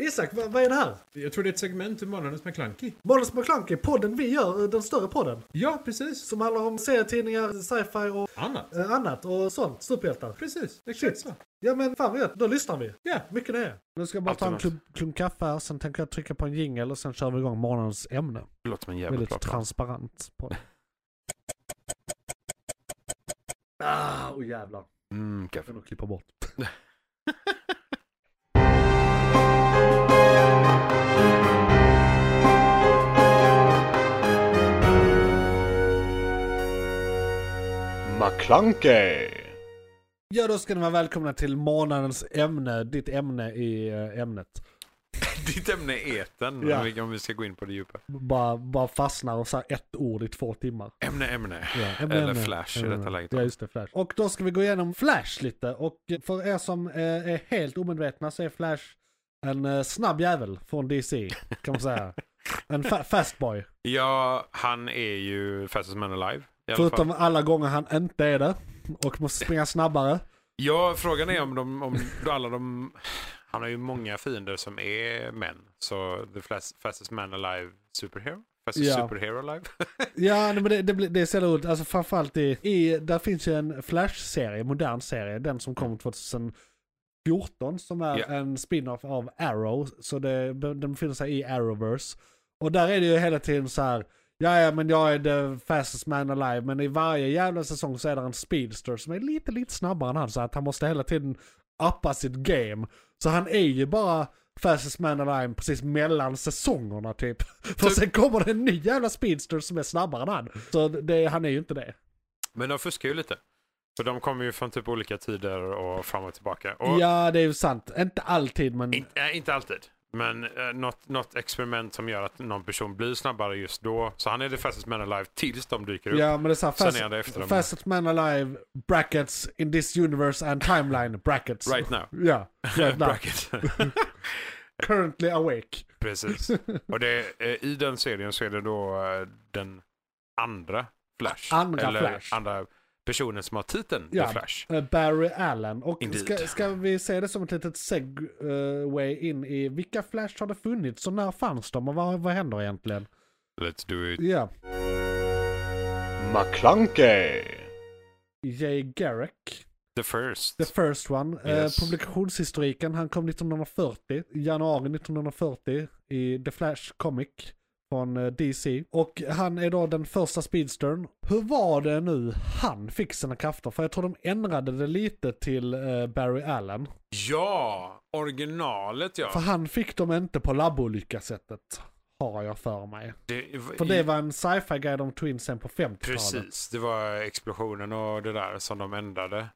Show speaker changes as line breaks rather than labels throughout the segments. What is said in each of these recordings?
Isak, vad, vad är det här?
Jag tror det är ett segment ur Månadens McKlunky.
Måns McClunky, podden vi gör, eh, den större podden.
Ja, precis.
Som handlar om serietidningar, sci-fi och
Annat.
eh, annat och sånt. Superhjältar.
Precis, exakt
Shit.
så.
Ja men fan vad gött, då lyssnar vi.
Ja.
Mycket det. Nu ska jag bara
Alltid
ta en
något.
klunk, klunk kaffe här, sen tänker jag trycka på en jingle och sen kör vi igång morgonens ämne.
Det låter som en jävla bra
Väldigt
plan.
transparent podd. Ah, oh jävlar.
Mm,
Jag får
kaffe.
nog klippa bort.
McClunkey!
Ja, då ska ni vara välkomna till månadens ämne, ditt ämne i eh, ämnet.
Ditt ämne är eten,
Ja.
om vi- om vi ska gå in på det djupa.
Bara, bara fastnar och så här ett ord i två timmar.
Ämne, ämne.
Ja, ämne,
Eller
ämne.
Flash i
Ämne,
detta
ämne.
läget.
Ja, just det, Flash. Och då ska vi gå igenom Flash lite. Och för er som eh, är helt omedvetna så är Flash en eh, snabb jävel från DC, kan man säga. En fa- fast boy.
Ja, han är ju Fastest Man Alive. I alla fall.
Förutom alla gånger han inte är det och måste springa snabbare.
Ja, frågan är om, de, om alla de... Han har ju många fiender som är män. Så The Flas- Fastest Man Alive Superhero? Fastest
Ja.
Superhero Alive?
Ja, nej, men det, det, blir- det är så jävla roligt. Alltså framförallt i, i, där finns ju en Flash-serie, modern serie, den som kom 2014 som är
Ja.
en spin-off av Arrow. Så det, den befinner sig i Arrowverse. Och där är det ju hela tiden så här, ja ja men jag är the fastest man alive, men i varje jävla säsong så är det en speedster som är lite, lite snabbare än han. Så att han måste hela tiden uppa sitt game. Så han är ju bara fastest man alive precis mellan säsongerna typ. För sen kommer det en ny jävla speedster som är snabbare än han. Så det, han är ju inte det.
Men de fuskar ju lite. För de kommer ju från typ olika tider och fram och tillbaka. Och
Ja, det är ju sant. Inte alltid men...
in, äh, inte alltid. Men eh, något, något experiment som gör att någon person blir snabbare just då. Så han är the fastest man alive tills de dyker upp.
Ja, men det är såhär
Sen
fast,
är det efter dem.
fastest man alive, brackets, in this universe and timeline, brackets.
Right now.
Ja, right now.
Bracket.
Currently awake.
Precis. Och det, eh, i den serien så är det då eh, den andra Flash.
Andra
eller
Flash.
andra personen som har titeln
Ja.
The Flash.
Eh, Barry Allen. Och
Indeed.
ska, ska vi se det som ett litet segway in i vilka Flash har det funnits och när fanns de och vad, vad händer egentligen?
Let's do it.
Ja,
McClunkey.
Jay Garrick.
The first.
The first one. Eh,
Yes.
publikationshistoriken. Han kom 1940, januari 1940 i The Flash Comic från eh, DC. Och han är då den första speedstern. Hur var det nu han fick sina krafter? För jag tror de ändrade det lite till eh, Barry Allen.
Ja, originalet ja.
För han fick dem inte på labbolycka-sättet. Har jag för mig.
Det,
För det var en sci-fi guide om Twins sen på 50-talet.
Precis, det var explosionen och det där som de ändrade.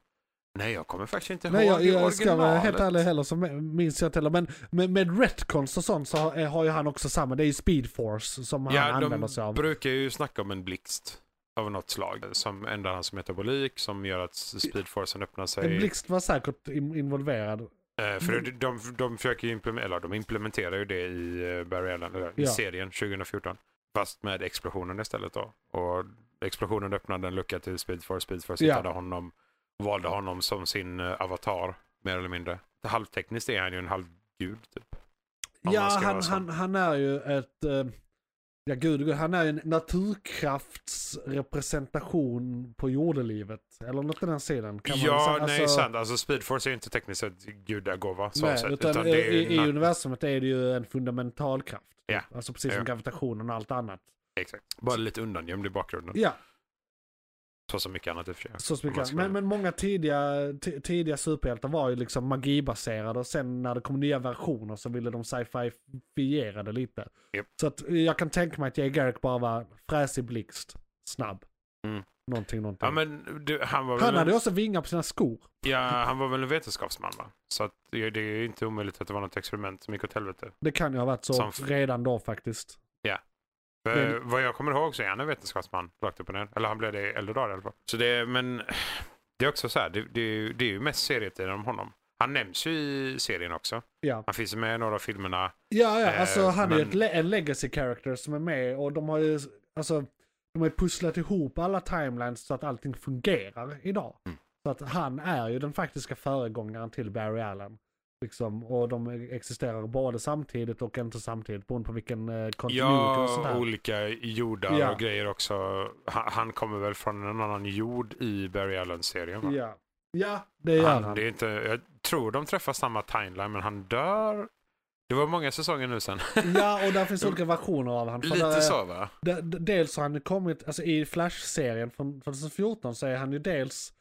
Nej, jag kommer faktiskt inte
Nej
ihåg
jag,
i
jag ska vara
originalet.
helt ärlig heller så minns jag inte heller. Men med, med retcons och sånt så har, eh, har ju han också samma. Det är ju speed force som han
Ja,
använder
de
sig av.
brukar ju snacka om en blixt av något slag som ändrar hans metabolik, som gör att speedforcen öppnar sig.
En blixt var säkert in, involverad.
Eh, för
Mm.
de, de, de försöker ju implementera, eller de implementerar ju det i eh, Barry Allen, eller, i
Ja.
serien 2014. Fast med explosionen istället då. Och explosionen öppnade en lucka till Speedforce. Speedforce
Ja.
hittade honom, valde honom som sin eh, avatar, mer eller mindre. Halvtekniskt är han ju en halvgud typ. Om
Ja,
man ska
han,
vara
han, han är ju ett... eh, Ja gud, gud, han är ju en naturkraftsrepresentation på jordelivet. Eller något i den sidan. Kan
ja,
man, liksom,
nej sant. Alltså Speedforce är ju inte tekniskt sett gudagåva. så
nej,
sett,
utan
utan det är
i,
ju
i
na-
universumet är det ju en fundamental kraft. typ.
Ja.
Alltså precis
Ja.
som gravitationen och allt annat.
Exakt. Bara lite undangömd i bakgrunden.
Ja,
Så som mycket annat i och för sig.
Så
Om man
mycket.
ska-
Men, men många tidiga, ti- tidiga superhjältar var ju liksom magibaserade och sen när det kom nya versioner så ville de sci-fi-fiera det lite.
Japp.
Så att eh, jag kan tänka mig att Jay Garrick bara var fräsig blixt, snabb.
Mm.
Någonting, någonting.
Ja, men du, han var väl
Han
en-
hade ju också vingar på sina skor.
Ja, han var väl en vetenskapsman va? Så att det det är ju inte omöjligt att det var något experiment som gick åt helvete.
Det kan ju ha varit så
Som f-
redan då faktiskt.
För
Men-
Vad jag kommer ihåg så är han en vetenskapsman rakt upp och ner. Eller han blev det i äldre dagar i alla fall. Så det, men det är också så här, det, det, är ju- det är ju mest serietiden om honom. Han nämns ju i serien också.
Ja,
Han finns ju med i några av filmerna.
ja, ja
Eh,
alltså han är ju
men-
ett le- en legacy character som är med och de har ju, alltså, de har ju pusslat ihop alla timelines så att allting fungerar idag.
Mm.
Så att han är ju den faktiska föregångaren till Barry Allen. Liksom, och de existerar både samtidigt och inte samtidigt beroende på vilken eh, continuity och
Ja,
sådär.
olika jordar
Ja.
och grejer också. Han, han kommer väl från en annan jord i Barry Allen-serien? va?
Ja. ja, det gör han.
han, det är inte, jag tror de träffar samma timeline, men han dör. Det var många säsonger nu sen.
Ja, och där finns olika versioner av han. För där är-
Lite så va?
D- d- dels har han ju kommit, alltså i Flash-serien från 2014 så är han ju dels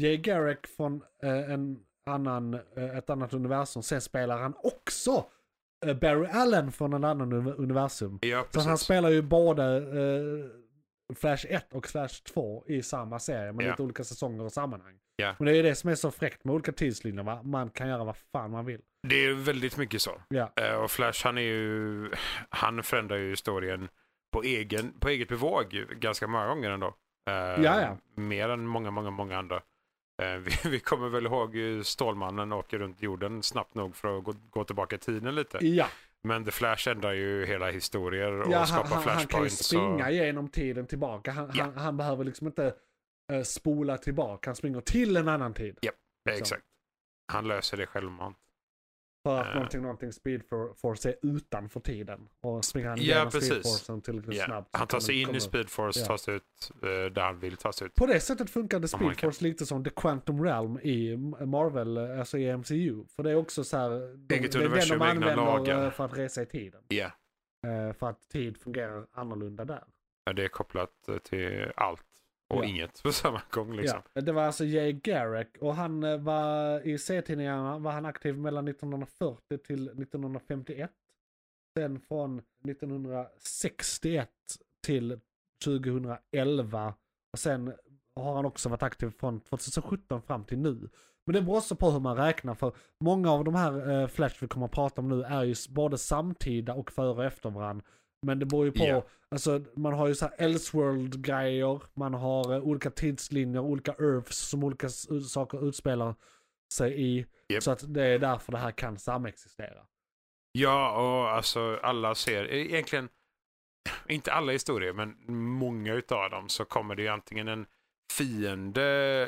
Jay Garrick från eh, en annan, eh, ett annat universum. Sen spelar han också eh, Barry Allen från en annan univ- universum.
Ja,
Så han
precis.
spelar ju både eh, Flash 1 och Flash 2 i samma serie med
Ja.
lite olika säsonger och sammanhang.
Ja.
Men det är ju det som är så fräckt med olika tidslinjer va? Man kan göra vad fan man vill.
Det är väldigt mycket så.
Ja,
Eh, Och Flash han är ju, han förändrar ju historien på, egen, på eget bevåg ju ganska många gånger ändå. Eh,
ja.
Mer än många, många, många andra. Eh, Vi, vi kommer väl ihåg ju Stålmannen åker runt jorden snabbt nog för att gå, gå tillbaka i tiden lite.
ja.
Men The Flash ändrar ju hela historier och
Ja, han,
skapar
han, han kan ju
flashpoints. och-
springa genom tiden tillbaka. Han,
Ja.
han, han behöver liksom inte eh, spola tillbaka. Han springer till en annan tid.
Ja,
liksom.
Exakt. Han löser det självmant.
För att
Eh.
någonting, någonting Speed for- Force är utanför tiden. Och springer han
Ja,
genom
precis.
Speed Forcen tillräckligt
Ja.
snabbt. så
Han tar
kan
sig
den
in
komma
i
upp.
Speed Force,
Ja.
tas ut eh, där han vill tas ut.
På det sättet funkade
Om man
Speed
kan.
Force lite som The Quantum Realm i M- Marvel, eh, alltså i MCU. För det är också så här, de,
Eget
det är den
universum,
de
egna
använder
lagar.
eh, för att resa i tiden.
Ja.
Eh, För att tid fungerar annorlunda där.
Ja, Det är kopplat eh, till allt
Ja.
och inget på samma gång liksom.
Ja, det var alltså Jay Garrick och han eh, var i serietidningarna var han aktiv mellan 1940 till 1951. Sen från 1961 till 2011. Och sen har han också varit aktiv från 2017 fram till nu. Men det beror också på hur man räknar för många av de här eh, Flash vi kommer att prata om nu är ju s- både samtida och före och efter varandra. Men det beror ju på,
Ja.
alltså man har ju så här Elseworld-grejer, man har eh, olika tidslinjer, olika Earths som olika s- ut- saker utspelar sig i.
Japp.
Så att det är därför det här kan samexistera.
Ja, och alltså alla ser, egentligen inte alla historier, men många utav dem så kommer det ju antingen en fiende,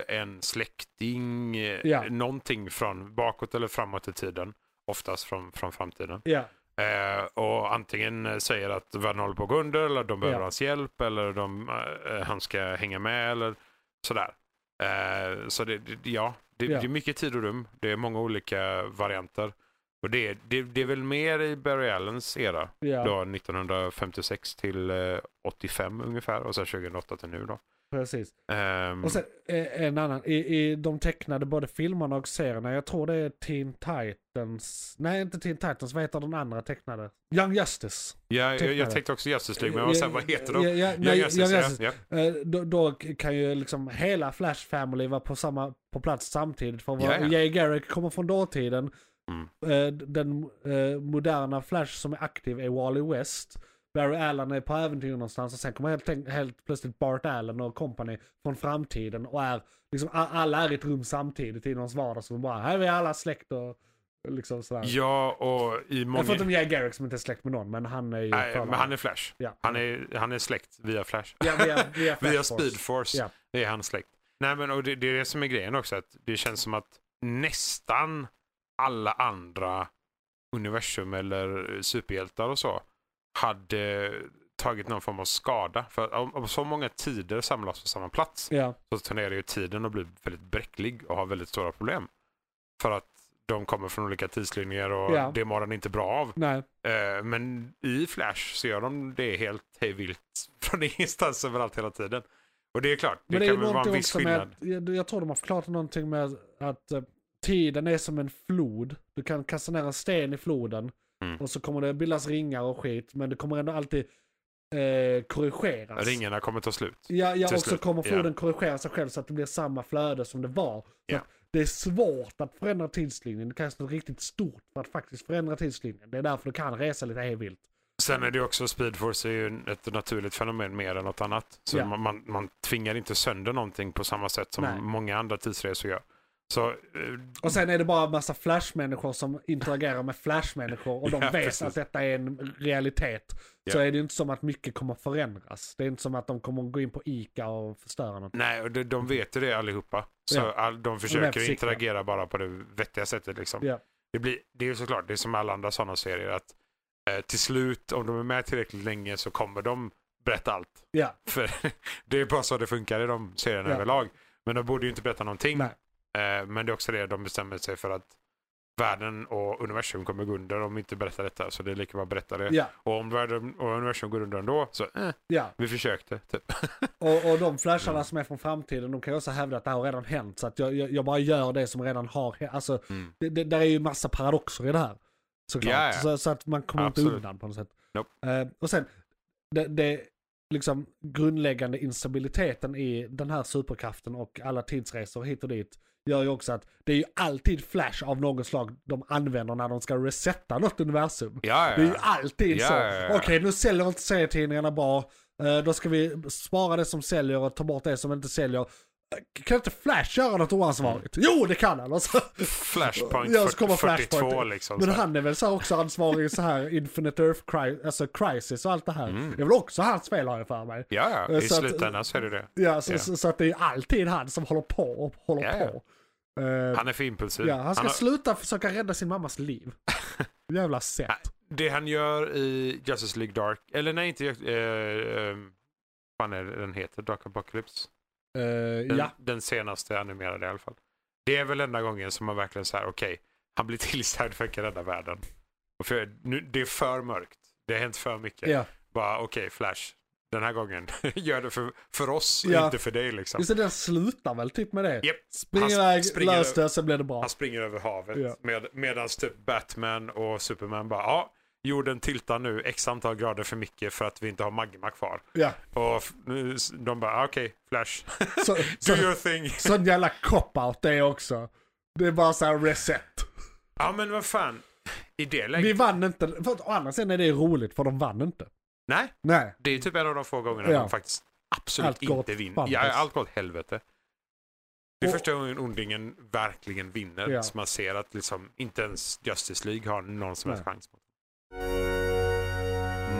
en släkting, eh,
Ja.
någonting från bakåt eller framåt i tiden. Oftast från, från framtiden.
Ja,
Eh, och antingen eh, säger att världen håller på att gå under eller de behöver
Ja.
hans hjälp eller de, eh, han ska hänga med eller sådär. Eh, så det, det, ja, det,
Ja.
det är mycket tid och rum. Det är många olika varianter. Och det, det, det är väl mer i Barry Allens era,
ja
då 1956 till eh, 85 ungefär och sen 2008 till nu då.
precis.
Ehm,
Och sen eh, en annan, i, i de tecknade både filmerna och serierna, jag tror det är Teen Titans, nej inte Teen Titans, vad heter den andra tecknade? Young Justice.
ja, jag, jag
tecknare.
tänkte också Justice League, Typ, men jag var såhär, vad heter de?
Ja, ja, nej,
ja, Justice,
Young Justice.
ja,
Eh, Då, då kan ju liksom hela Flash Family vara på, samma, på plats samtidigt. För
Ja, ja.
vad Jay Garrick kommer från dåtiden.
Mm.
Eh, Den eh, moderna Flash som är aktiv är Wally West. Barry Allen är på äventyr någonstans och sen kommer helt, tänk- helt plötsligt Bart Allen och company från framtiden och är liksom a- alla är i ett rum samtidigt i någons vardag som bara här är vi alla släkt och liksom sådär.
ja. ja, och i många...
Jag får inte om Jay Garrick som inte är släkt med någon men han är ju
Nej,
för-
men han är Flash.
Ja.
Han är, han är släkt via Flash.
ja, via, via, Flash
via
Force.
Speed Force
Ja.
är han släkt. Nej, men och det, det är det som är grejen också. Att det känns som att nästan alla andra universum eller superhjältar och så hade tagit någon form av skada. För om, om så många tider samlas på samma plats
Ja,
så tenderar ju tiden att bli väldigt bräcklig och ha väldigt stora problem. För att de kommer från olika tidslinjer och
Ja.
det mår den inte bra av.
nej.
Eh, Men i Flash så gör de det helt hej vilt från ingenstans överallt hela tiden. Och det är klart, det,
Men det, är
kan
ju
väl vara en
någonting
viss
också med,
skillnad.
att- jag, jag tror de har förklarat någonting med att eh, tiden är som en flod. Du kan kasta ner en sten i floden
Mm.
och så kommer det bildas ringar och skit men det kommer ändå alltid eh, korrigeras.
Ringarna kommer ta slut.
Ja, ja
till
och så
slut,
kommer
ja.
floden korrigera sig själv så att det blir samma flöde som det var. Så
Ja.
att Det är svårt att förändra tidslinjen. Det krävs något riktigt stort för att faktiskt förändra tidslinjen. Det är därför du kan resa lite hej vilt.
Sen är det ju också, Speedforce är ju ett naturligt fenomen mer än något annat. Så
Ja.
man, man, man tvingar inte sönder någonting på samma sätt som
Nej.
många andra tidsresor gör. Så eh,
Och sen är det bara en massa flashmänniskor som interagerar med flashmänniskor och de
Ja,
vet
precis.
att detta är en realitet. Så
Ja.
är det ju inte som att mycket kommer förändras. Det är inte som att de kommer gå in på ICA och förstöra något.
nej, och de, de vet ju det allihopa. Så
Ja.
all, de
försiktiga.
försöker interagera bara på det vettiga sättet liksom.
Ja.
Det, blir, det är ju såklart, det är som alla andra sådana serier att eh, till slut, om de är med tillräckligt länge så kommer de berätta allt.
Ja.
För det är bara så det funkar i de serierna
Ja.
överlag. Men de borde ju inte berätta någonting.
Nej.
Eh, men det är också det de bestämmer sig för att världen och universum kommer gå under om vi inte berättar detta. Så det är lika bra att berätta det.
Ja,
Och om världen och universum går under ändå så eh,
ja.
vi försökte. Typ.
Och, och de flasharna som är från framtiden, de kan ju också hävda att det här har redan hänt. Så att jag, jag, jag bara gör det som redan har hänt. Alltså,
Mm.
det, det, där är ju massa paradoxer i det här. Såklart.
Ja, ja.
Så, så att man kommer
Absolut.
inte undan på något sätt.
Nope.
Eh, och sen, det, det liksom grundläggande instabiliteten i den här superkraften och alla tidsresor hit och dit gör ju också att det är ju alltid flash av något slag de använder när de ska resetta något universum.
Ja,
Det är ju alltid
Ja,
så.
ja, ja.
Okej, nu säljer inte serietidningarna bra. Eh, Då ska vi spara det som säljer och ta bort det som inte säljer. Eh, Kan inte Flash göra något oansvarigt?
Mm.
Jo, det kan han alltså.
Flashpoint
Ja, så
40,
kommer
42
Flashpoint.
liksom.
Men
så här.
han är väl så här också ansvarig i så här Infinite Earth cri- alltså crisis och allt det här.
Mm.
Det är väl också hans fel har jag för mig.
Ja, ja.
Eh,
i
så att-
slutändan så är det det.
Ja, så,
Ja.
Så, så att det är alltid han som håller på och håller
Ja, ja.
på. Eh,
Han är för impulsiv.
ja, han ska
har-
sluta försöka rädda sin mammas liv. Jävla sätt.
det han gör i Justice League Dark, eller nej inte, eh, eh, vad är det den heter? Dark Apocalypse?
Eh,
Den,
ja,
den senaste animerade i alla fall. Det är väl enda gången som man verkligen så här, okej, han blir tillsagd för att rädda världen. Och för, nu, det är för mörkt. Det har hänt för mycket.
ja.
Bara okej, Flash, den här gången, gör det för, för oss, och
Ja.
inte för dig liksom.
Just det, den slutar väl typ med det?
Japp.
Spring
Han
iväg,
springer
lös det, sen blir det bra.
Han springer över havet
Ja.
med, medan typ Batman och Superman bara ja, jorden tiltar nu x antal grader för mycket för att vi inte har magma kvar.
Ja.
Och f- de bara ah, okej, Flash,
Så, så,
do your thing.
sån jävla cop-out det är också. Det är bara så här reset.
Ja men vad fan, i det läget.
Vi vann inte, för att, å andra sidan är det roligt för de vann inte.
Nej,
Nej.
det är typ en av de få gångerna
Ja.
de faktiskt absolut
Allt går
inte
åt
vinner.
fan,
Ja,
alltså.
allt går åt helvete. Det är
Och-
första gången ondingen verkligen vinner.
Ja.
Så man ser att liksom, inte ens Justice League har någon som helst
Nej.
chans. mot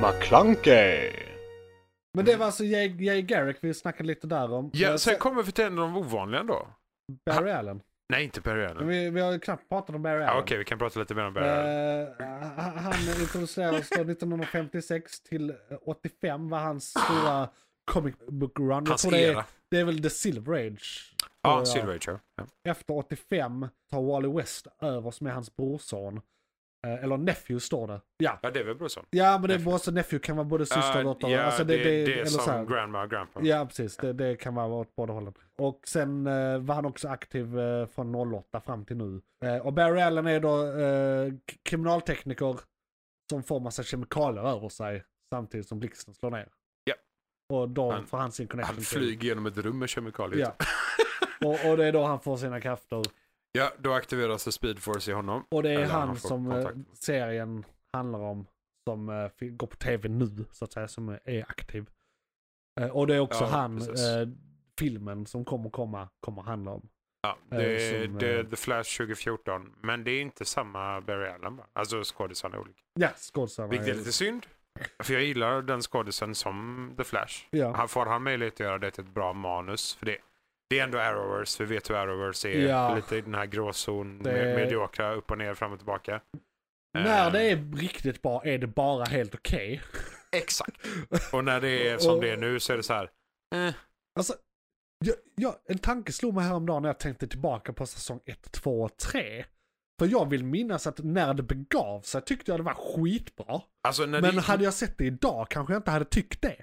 McClunkey.
Men det var alltså Jay, Jay Garrick vi snackade lite där om.
Ja,
Eh,
sen kommer vi till en av de ovanliga då.
Barry Allen.
Nej, inte Barry Allen.
Men vi, vi har ju knappt pratat om Barry
Ja,
Allen.
Okej, vi kan prata lite mer om Barry Allen.
Eh, han- han introducerades då 1956 till 85 var hans stora comic book run. Jag
Hans
tror det, är,
era.
det är väl The Silver Age. tror
Ja,
jag.
Silver Age. ja. Ja.
efter 85 tar Wally West över som är hans brorson. Eh, eller nephew står det. Ja.
Ja, det är väl brorson.
Ja men det är
Nephew.
brorson, nephew kan vara både syster
Ja,
och dotter.
Eh, ja,
alltså
det, det, är
eller
som
så här.
grandma och grandpa.
Ja precis, det, det kan vara åt båda hållen. Och sen eh, var han också aktiv eh, från 08 fram till nu. Eh, och Barry Allen är då eh, k- kriminaltekniker som får massa kemikalier över sig samtidigt som blixten slår ner.
Ja.
Och då
Han-
får han sin connection
Han flyger genom ett rum med kemikalier.
Ja.
Ja.
Och, och det är då han får sina krafter.
då aktiveras det Speed Force i honom.
Och det är
Eller
han,
han får
som eh,
kontakt.
serien handlar om. Som eh, fi- går på tv nu, så att säga, som eh, är aktiv. Eh, och det är också
Ja,
han,
precis.
eh, filmen som kommer komma, kommer handla om.
Ja, det,
eh,
är-
som,
det är
eh,
The Flash 2014. Men det är inte samma Barry Allen. va? Alltså skådisarna är olika.
Ja, skådisarna.
Vilket är
är-
lite synd. För jag gillar den skådisen som The Flash.
Ja.
Han får han möjlighet att göra det till ett bra manus. För det, det är ändå Arrowverse. Vi vet hur Arrowverse är.
Ja.
Lite i den här gråzon,
Det-
med, mediokra, upp och ner, fram och tillbaka.
När
Eh,
det är riktigt bra är det bara helt okej.
Exakt. Och när det är som
Och-
det är nu så är det så här. Eh,
Alltså, jag, jag, en tanke slog mig häromdagen när jag tänkte tillbaka på säsong 1, 2 och 3. För jag vill minnas att när det begav sig tyckte jag det var skitbra.
alltså när
Men
det,
hade jag sett det idag kanske jag inte hade tyckt det.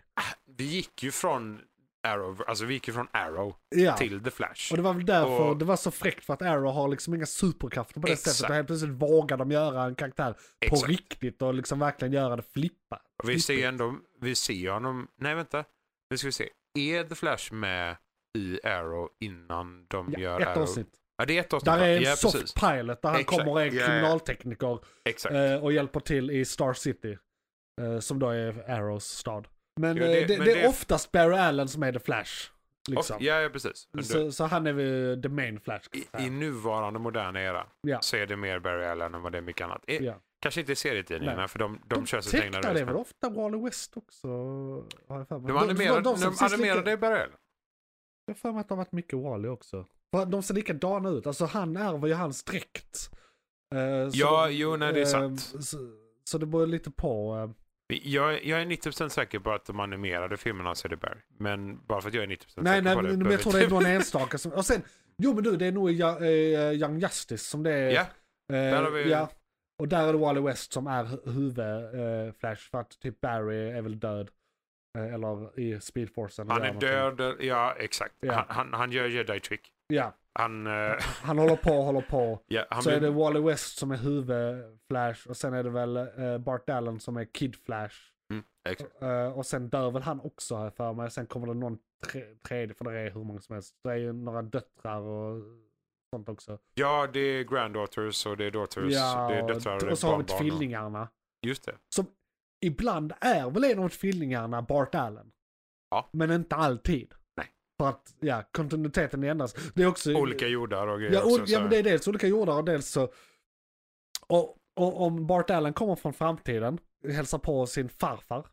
vi gick ju från Arrow, alltså vi gick ju från Arrow
Ja.
till The Flash.
Och det var väl därför
Och-
det var så fräckt för att Arrow har liksom inga superkrafter på det
Exakt.
sättet. Och helt plötsligt vågar de göra en karaktär på
Exakt.
riktigt och liksom verkligen göra det flippa.
Och vi ser ju
flippigt.
ändå, vi ser ju honom, nej vänta, nu ska vi se. Är The Flash med i Arrow innan de
ja,
gör
ett
Arrow?
avsnitt.
Ja, det är ett avsnitt.
Där är en
ja,
soft
precis.
pilot där han
Exakt.
kommer och är
Ja, ja.
kriminaltekniker
Exakt.
eh, och hjälper till i Star City. eh, Som då är Arrows stad. Men
Jo,
eh,
det-
det, det,
men
är
det-
oftast Barry Allen som är The Flash. Liksom.
Och- ja, ja, precis. Men du,
så, så han är väl the main Flash. kan
i,
man säga.
I nuvarande moderna era
Ja.
så är det mer Barry Allen än vad det är mycket annat. I,
Ja.
Kanske inte i serietidningarna
Nej.
för de, de, kör sitt egna
tecknar det
race.
väl ofta Wally West också? Har jag för mig.
De animerade, de,
ser precis lika-
animerade Barry Allen.
Jag har för mig att det har varit mycket Wally också. För att De ser likadana ut. Alltså han ärver ju hans dräkt. Eh, så
Ja,
de-
jo, nej, det är
eh,
sant.
Så, så det beror lite på. eh,
Jag, jag är 90% säker på att de animerade filmerna av Cederberg. Men bara för att jag är 90%
Nej,
säker
nej
på det.
men men
behöver
jag tror det är
inte-
någon enstaka som... Och sen, jo men du, det är nog i Ja- eh, Young Justice som det är.
Ja,
där
har vi-
ja. Och där är det Wally West som är hu- huvud, eh, Flash, för att typ Barry är väl död. Eh, eller i Speedforcen.
han
gör
är
någonting.
död. Ja, exakt.
Ja.
Han, han, han gör jedi-trick.
Ja,
Han, eh,
han håller på, håller på.
ja, han
så
blir
är det Wally West som är huvud Flash och sen är det väl eh, Bart Allen som är Kid Flash.
Mm, exakt.
Eh, och sen dör väl han också har jag för mig. Sen kommer det någon tre, tredje, för det är hur många som helst. Det är ju några döttrar och sånt också.
Ja, det är granddaughters och det är daughters. det är
och-
döttrar och, det är
och så har vi
barnbarn och-
tvillingarna.
Just det.
Ibland är väl en av tvillingarna Bart Allen?
Ja.
Men inte alltid.
Nej.
För att, ja, kontinuiteten ändras. Det är också...
Olika jordar och grejer
Ja,
också.
o- ja
så
men det
här.
är dels olika jordar och dels så... Och, och om Bart Allen kommer från framtiden, hälsar på sin farfar,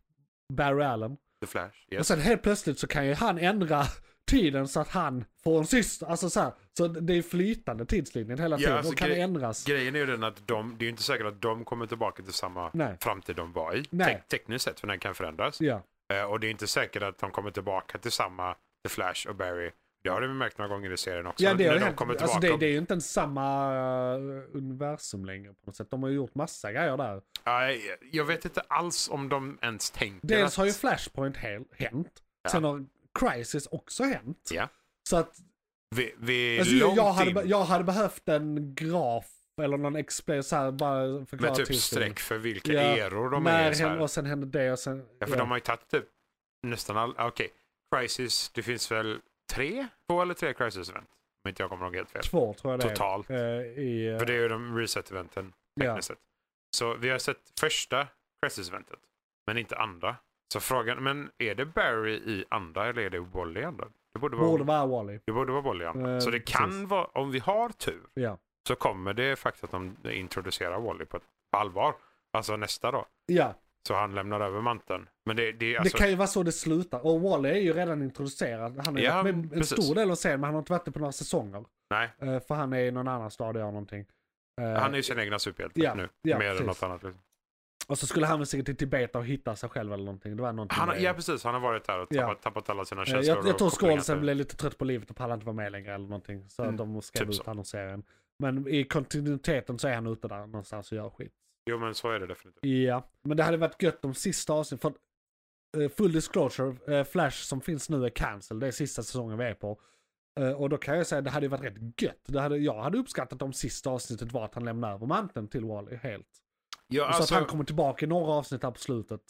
Barry Allen.
The Flash.
Och
Yes.
sen helt plötsligt så kan ju han ändra tiden så att han får en syster. Alltså så här, så det är flytande tidslinjen hela
Ja,
tiden.
alltså
och kan
grej-
ändras.
Grejen är ju den att de, det är ju inte säkert att de kommer tillbaka till samma
Nej.
framtid de var i.
Nej.
Tek- tekniskt sett, för den kan förändras.
Ja.
Eh, och det är inte säkert att de kommer tillbaka till samma The Flash och Barry. Det har vi märkt några gånger i serien också.
Ja, det, är
när
ju
de
helt,
kommer
alltså
tillbaka.
det, det är ju inte ens samma eh, universum längre på något sätt. De har ju gjort massa grejer där.
Nej, jag vet inte alls om de ens tänker
Dels
att...
har ju Flashpoint hel, hänt.
Ja.
Sen har Crisis också hänt.
Ja.
Så att
Vi, vi är
alltså,
långt
jag, hade,
in.
be- jag hade behövt en graf eller någon explain så här bara förklara
med typ
tidslinjen.
streck för vilka
Ja,
eror de
När
är i. så här.
hände, och sen hände det och sen...
Ja, för
ja.
de har ju tagit typ nästan all... ah, Okej, Crisis, det finns väl tre? Två eller tre Crisis-event? Om inte jag kommer ihåg helt fel.
Två tror jag det är.
Totalt.
Eh, i, eh,
För det är ju de reset-eventen,
ja.
tekniskt sett. Så vi har sett första Crisis-eventet, men inte andra. Så frågan, men är det Barry i andra eller är det Wally i andra? Det borde vara,
eh, Borde vara Wally.
det borde vara Wally i andra.
Eh,
så det kan
precis.
vara, om vi har tur,
Ja.
så kommer det faktiskt att de introducerar Wally på, på allvar. Alltså nästa då.
Ja,
Så han lämnar över manteln. Men det, det är alltså...
det kan ju vara så det slutar. Och Wally är ju redan introducerad. Han är
Ja,
ja, med en
precis.
stor del av serien men han har inte varit det på några säsonger.
Nej.
Eh, för han är i någon annan stad och gör någonting. Eh,
Han är ju sin egna superhjälte
Ja,
nu.
ja,
mer än
precis.
något annat. Liksom.
Och så skulle han väl säkert till Tibet och hitta sig själv eller någonting. Det var någonting
Han har,
med-
ja, precis. Han har varit där och
Ja.
tappat, tappat alla sina
Eh,
känslor.
jag, jag
och
tror
kopplingar
skådisen
till-
blev lite trött på livet och pallade inte vara med längre eller någonting. Så
Mm,
de skrev
typ
ut
så.
honom ur serien. Men i kontinuiteten så är han ute där någonstans och gör skit.
Jo, men så är det definitivt.
Ja, men det hade varit gött de sista avsnitten. För eh, full disclosure, eh, Flash som finns nu är cancel. Det är sista säsongen vi är på. Eh, Och då kan jag säga att det hade varit rätt gött. Det hade, jag hade uppskattat om sista avsnittet var att han lämnar över manteln till Wally helt.
Ja,
så
alltså,
att han kommer tillbaka i några avsnitt här på slutet.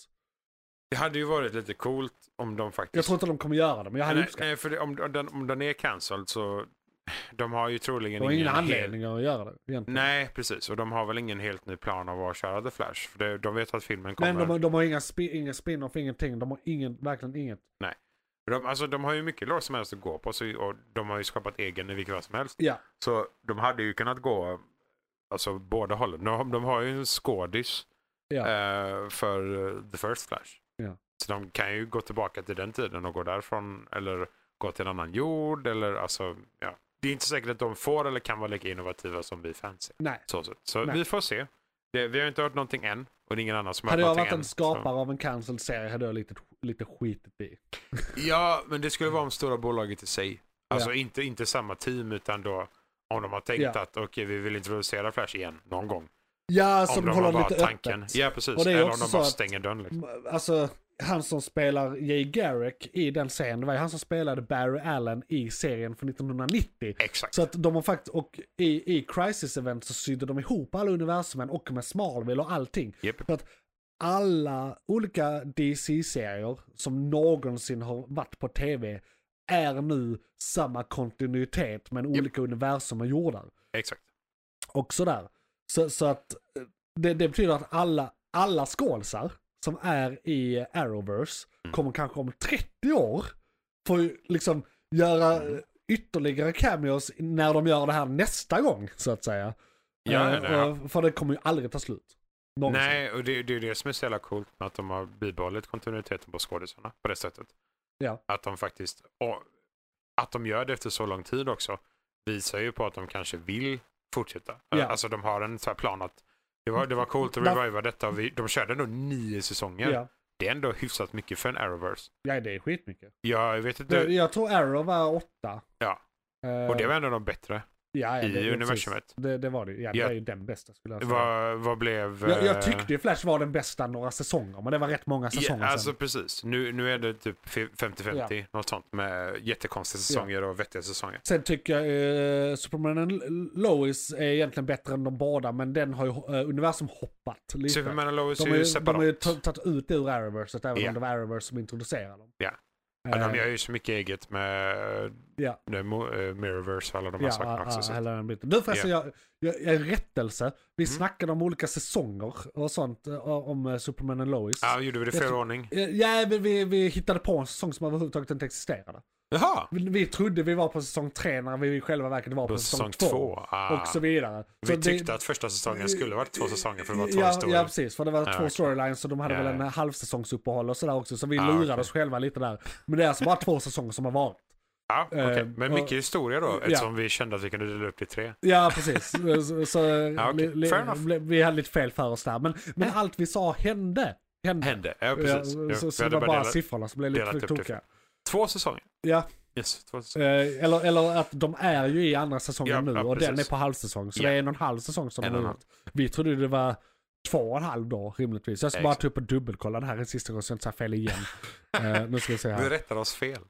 Det hade ju varit lite coolt om de faktiskt...
Jag tror inte de kommer göra det, men jag hade
nej,
uppskattat.
nej, för det, om, om, den, om den är cancelled så... De har ju troligen
Det var ingen
hel-
anledning att göra det egentligen.
Nej, precis. Och de har väl ingen helt ny plan av att köra The Flash. För det, de vet att filmen kommer.
Men de, har- de har inga, spi, inga spin-off, ingenting. De har ingen, verkligen inget.
De, alltså, de har ju mycket lår som helst att gå på så, och de har ju skapat egen i vilket fall som helst.
Ja,
Så de hade ju kunnat gå alltså, båda hållen. De, de har ju en skådis
ja.
eh, för eh, The First Flash.
Ja.
Så de kan ju gå tillbaka till den tiden och gå därifrån eller gå till en annan jord. Eller, alltså, ja. Det är inte säkert att de får eller kan vara lika innovativa som vi fans är.
Nej.
Så, så. så
Nej.
vi får se. Det, vi har inte hört någonting än och det är ingen annan som har
Hade
hört
jag
någonting
varit en
än, så-
skapare av en cancelled serie hade jag lite, lite skitit i.
Ja, men det skulle vara om stora bolaget i sig. Alltså
Ja.
inte, inte samma team utan då om de har tänkt
Ja.
att okej, vi vill introducera Flash igen någon gång.
Ja, som
om de
håller
bara
Alltså, lite
tanken.
öppet.
Ja, precis.
Och det är
Eller om
också
de
så
bara
att-
stänger dörren. Liksom.
Alltså, han som spelar Jay Garrick i den serien, det var ju han som spelade Barry Allen i serien från 1990.
Exakt.
Så att de har faktiskt, och i, i Crisis Event så sydde de ihop alla universumen och med Smallville och allting.
Japp.
För att alla olika DC-serier som någonsin har varit på tv är nu samma kontinuitet men olika universum är gjorda.
Exakt.
Och sådär. Så, så att eh, det, det betyder att alla, alla skålsar som är i Arrowverse
Mm.
kommer kanske om 30 år få ju liksom göra
Mm.
eh, ytterligare cameos när de gör det här nästa gång så att säga.
Ja,
Eh,
nej, ja.
och- För det kommer ju aldrig ta slut. Någonsin.
Nej, och det, det är det som är så jävla coolt med att de har bibehållit kontinuiteten på skådisarna på det sättet.
Ja.
Att de faktiskt, och att de gör det efter så lång tid också, visar ju på att de kanske vill fortsätta.
Ja.
Alltså de har en så här plan att det var, det var coolt att
Där-
reviva detta. och Vi, de körde nog nio säsonger.
Ja.
Det är ändå hyfsat mycket för en Arrowverse.
ja, det är skitmycket.
Jag vet inte,
Jag, jag tror Arrow var åtta.
Ja.
Eh,
och det var en av de bättre.
ja, ja,
i
det- det,
universumet.
precis. Det, det var det ju. Ja, det
Ja.
var ju den bästa skulle jag säga.
Vad, vad blev...
jag, jag
eh,
tyckte ju Flash var den bästa några säsonger, men det var rätt många säsonger
Ja, alltså
sen.
precis. Nu, nu är det typ 50-50, något sånt med jättekonstiga säsonger och vettiga säsonger.
Sen tycker jag eh, Superman and L- Lois är egentligen bättre än de båda, men den har ju eh, universum hoppat lite.
Superman och Lois
de
är
har
ju
ju, de
separat.
har ju ta- tagit ut det ur Arrowverse, även
Ja.
om det var Arrowverse som introducerade dem.
Ja. ja, de
Eh,
gör ju så mycket eget med
Ja.
eh, Mo- eh, Mirrorverse och alla de här
ja,
sakerna också.
ja,
så att- Mm.
hela den biten. Du förresten, jag, jag, jag rättelse. Vi snackade om olika säsonger och sånt eh, om eh, Superman and Lois.
Ja, gjorde vi det i
Jag
fel
tror-
ordning?
Eh, Ja, men vi, vi hittade på en säsong som överhuvudtaget inte existerade.
Jaha!
Vi, vi trodde vi var på säsong tre när vi i själva verket var på
Då
säsong,
säsong
två.
två. Ah.
Och så vidare. så
Vi tyckte att första säsongen skulle varit två säsonger för det var två
ja,
historier.
Ja, precis. För det var
Ja,
två
okej.
storylines och de hade
Ja,
väl en
ja.
halvsäsongsuppehåll och sådär också. Så vi
Ah,
lurade
okej.
oss själva lite där. Men det är alltså bara två säsonger som har varit.
Ja, okej.
Eh,
Men
och-
mycket historia då,
Ja.
eftersom vi kände att vi kunde dela upp det i tre.
Ja, precis. Så, så,
Ja, Ah, okej.
li- li-
Fair enough.
li- vi hade lite fel för oss där. Men, men allt vi sa hände. Hände.
Hände, ja precis.
Ja,
Ja,
så,
vi
så det
hade
var bara
delat-
siffrorna som blev lite
delat
för
upp det.
tokiga.
Två säsonger.
Ja,
Yes, två säsonger.
eh, eller, eller att de är ju i andra säsongen
Ja,
nu
ja,
och den är
precis.
på halvsäsong. Så
Ja.
det är en och en halv säsong som
En
de
och en
har gjort. Vi trodde det var två och en halv dag rimligtvis. Jag ska bara
Exakt.
ta upp och dubbelkolla det här en sista gång så jag inte säger fel igen. Eh, nu ska vi se
Vi
här.
rättade oss fel.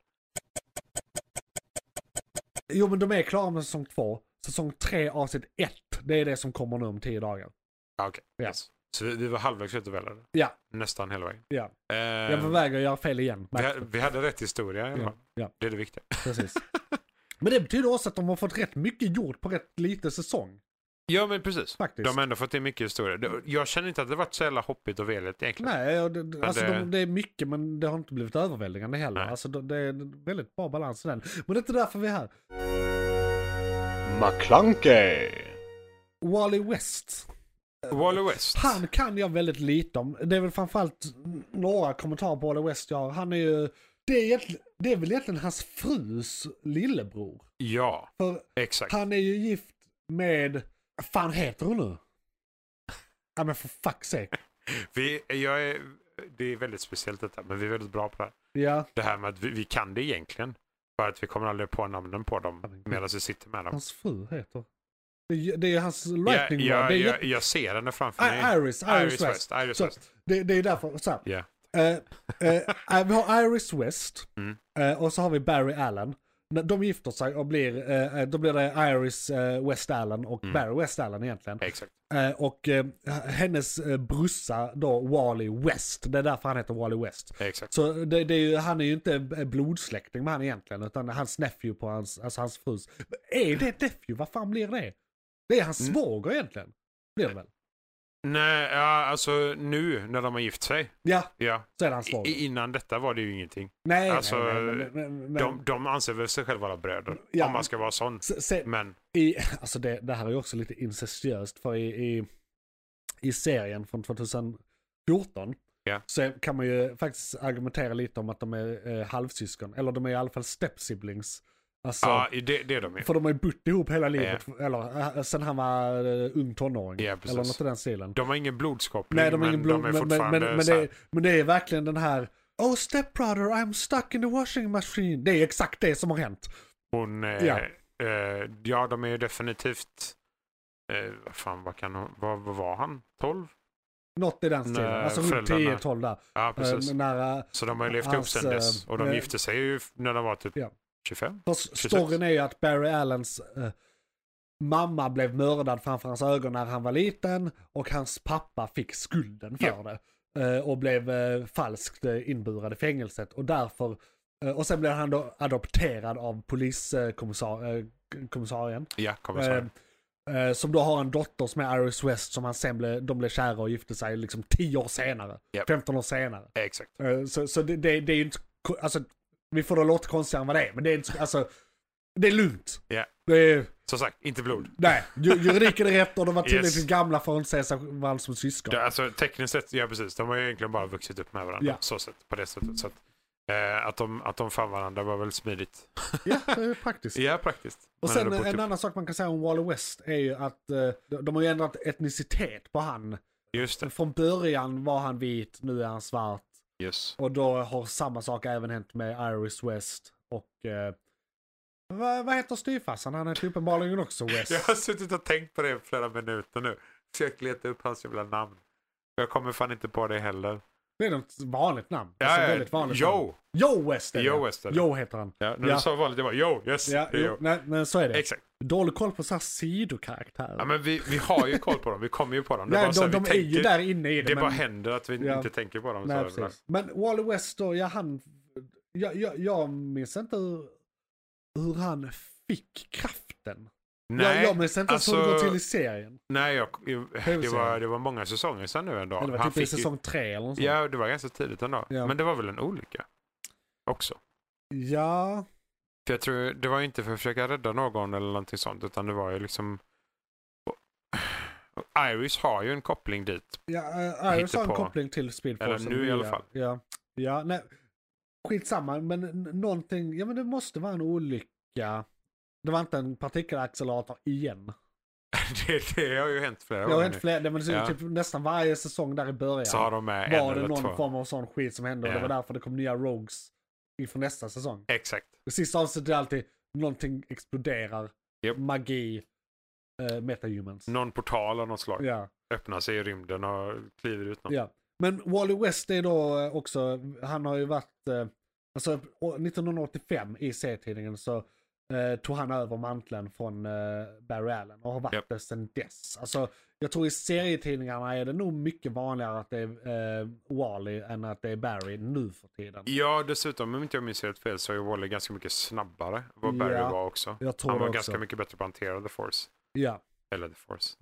Jo men de är klara med säsong två. Säsong tre avsnitt ett. Det är det som kommer nu om tio dagar.
Ja, okej.
Ja.
Yes. Så vi, vi var halvvägs ut och väl, eller?
Ja.
Nästan hela vägen.
Ja.
Eh,
Jag är på väg att göra fel igen.
vi, ha- vi hade rätt historia i alla
Ja,
fall.
ja,
Det är det viktiga.
precis. Men det betyder också att de har fått rätt mycket gjort på rätt lite säsong.
Ja, men precis.
Faktiskt.
De har ändå fått in mycket historia. Det- Jag känner inte att det varit så jävla hoppigt och veligt egentligen.
Nej, och det, det- alltså
det-
De, det är mycket men det har inte blivit överväldigande heller.
Nej.
Alltså, de- det är en väldigt bra balans i den. Men det är inte därför vi är här.
McClunkey,
Wally West.
Wally West.
Han kan jag väldigt lite om. Det är väl framförallt några kommentarer på Wally West jag har. Han är ju... Det är, egentligen- det är väl egentligen hans frus lillebror.
Ja,
För
exakt.
han är ju gift med... Vad fan heter hon nu? Ja men för fuck's sake.
Vi, jag är, det är väldigt speciellt detta, men vi är väldigt bra på det här.
Ja,
Det här med att vi, vi kan det egentligen. För att vi kommer aldrig på namnen på
Ja, men
dem
gud.
medan vi sitter med dem.
hans fru heter... Det är, ju- det är hans
Jag,
lightning rod.
jag,
Det är
jag, jag ser henne framför mig.
I- Iris, Iris, West.
Iris
Så-
West.
Det, det är därför, så här.
Ja.
Eh, eh, vi har Iris West
Mm.
eh, och så har vi Barry Allen. När De gifter sig och blir, eh, eh, då blir det Iris eh, West Allen och
Mm.
Barry West Allen egentligen.
Exakt.
Eh, och eh, hennes eh, brorsa då, Wally West, det är därför han heter Wally West.
Exakt.
Så det, det är ju, han är ju inte b- blodsläkting med han egentligen, utan hans nephew på hans, alltså hans frus. Är det nephew? Vad fan blir det? Det är hans
Mm.
svåger egentligen. Blir det väl?
Nej, ja, alltså nu när de har gift sig.
Ja,
Ja.
så är det hans
I,
svåger.
i- innan detta var det ju ingenting.
nej,
alltså,
nej, nej, men- men- men-
De, de anser väl sig själva vara bröder.
Ja.
Om man ska vara sån.
Se- se-
Men
I, alltså det, det här är ju också lite incestuöst för i, i, i serien från 2014
Ja.
så kan man ju faktiskt argumentera lite om att de är eh, halvsyskon. Eller de är i alla fall stepsiblings. Alltså,
ja, det, det är de ju.
För de har ju bott ihop hela livet, eller eh, sen han var eh, ung tonåring.
Ja, precis.
eller något i den stilen.
De har ingen blodskoppling
Nej, de har ingen
men
blod,
de är
men, men,
fortfarande
men, men,
så här-
det, men det är verkligen den här Oh stepbrother, I'm stuck in the washing machine. Det är exakt det som har hänt.
Hon, eh,
Ja.
ja. Eh, ja, de är ju definitivt... Eh, vad fan, vad kan hon... Vad, vad var han? 12?
Något i den stilen.
När
alltså runt
föräldrarna-
10-12 där.
Ja, precis.
Eh, när, eh,
så de har ju levt upp
hans,
sen dess.
eh,
Och de
eh,
gifte sig ju f- när de var typ
ja.
25.
För
Precis.
storyn är ju att Barry Allens eh, mamma blev mördad framför hans ögon när han var liten och hans pappa fick skulden för
Ja.
det. Eh, och blev eh, falskt eh, inburad i fängelset och därför eh, och sen blev han då adopterad av poliskommissarien. Eh, kommissarien.
Ja, kommer så.
Eh, eh, som då har en dotter som är Iris West som han sen blev, de blev kära och gifte sig liksom 10 år senare.
Japp.
15 år senare.
Exakt.
Eh, Så, så det, det, det är ju inte, ko- alltså, vi får det låta konstigare än vad det är, men det är inte, alltså, det är lugnt.
Ja.
Det är,
Som sagt, inte blod.
nej, ju- juridiken är rätt och de var tillräckligt
Yes.
gamla för att inte säga sig varandra som syskon.
Det, alltså tekniskt sett, ja precis. De har ju egentligen bara vuxit upp med varandra.
Ja.
Så sett, på det sättet. Så att, Eh, att, de, att de fann varandra var väldigt smidigt.
Ja, det är praktiskt.
Ja, praktiskt.
Och
Man
sen
hade
en
bott ihop.
annan sak man kan säga om Wally West är ju att eh, de- de har ju ändrat etnicitet på han.
Just det.
Från början var han vit, nu är han svart.
Yes.
Och då har samma sak även hänt med Iris West och... Eh, vad, vad heter styvfarsan? Han heter uppenbarligen också West.
Jag har suttit och tänkt på det i flera minuter nu. Försökt leta upp hans jävla namn. Jag kommer fan inte på det heller.
Det är något vanligt namn.
Ja,
alltså,
ja,
väldigt vanligt namn.
Joe!
Joe West är det.
Joe West är det.
Joe heter han.
Ja, när
Ja.
du sa vanligt, jag bara Joe, yes.
Ja,
det är
jo,
Joe.
nej, men så är det.
Exakt.
Dålig koll på så här sidokaraktärer.
Ja, men vi, vi har ju koll på dem, vi kommer ju på dem. Det är
Nej,
bara så här,
de, de
vi
är ju
tänker-
där inne i det.
Det
men...
bara händer att vi
Ja.
inte tänker på dem.
Nej,
så här.
precis. Men Wally West då, ja han... Jag, jag, jag minns inte hur, hur han fick kraften. jag,
nej,
jag minns inte ens hur det
alltså-
går till i serien.
nej jag, det, var,
Huvudserien.
det var många säsonger sedan nu ändå.
Eller det var
Han
typ i
fick ju-
säsong tre eller något sånt.
Ja, det var ganska tidigt ändå.
Ja.
Men det var väl en olycka också.
Ja,
För jag tror, det var ju inte för att försöka rädda någon eller någonting sånt, utan det var ju liksom... Och Iris har ju en koppling dit.
ja eh, Iris har en
Hittepå.
koppling till Speed
Eller
Force.
nu i
ja.
alla fall.
Ja, ja nej. Skitsamma, men n- någonting, ja men det måste vara en olycka. Det var inte en partikelaccelerator igen.
det, det har ju hänt flera
Det har
gånger
hänt fler, det var
Ja.
typ nästan varje säsong där i början.
nu. Så har de med en
var det
eller
någon
två.
form av sån skit som hände och
Ja.
det var därför det kom nya rogues inför nästa säsong.
Exakt.
Det sista avsnittet är alltid någonting exploderar,
Japp.
magi, eh, metahumans.
Någon portal av något slag
Ja,
öppnar sig i rymden och kliver ut någon.
ja. Men Wally West är då eh, också, han har ju varit, eh, alltså å- 1985 i serietidningen så eh, tog han över manteln från eh, Barry Allen och har varit
Japp.
det sedan dess. Alltså jag tror i serietidningarna är det nog mycket vanligare att det är eh, Wally än att det är Barry nu för tiden.
Ja, dessutom om inte jag minns helt fel så är Wally ganska mycket snabbare än vad Barry
Ja,
var också.
Jag tror
Han var
det också.
ganska mycket bättre på att hantera The Force.
Ja,
Eller The Force.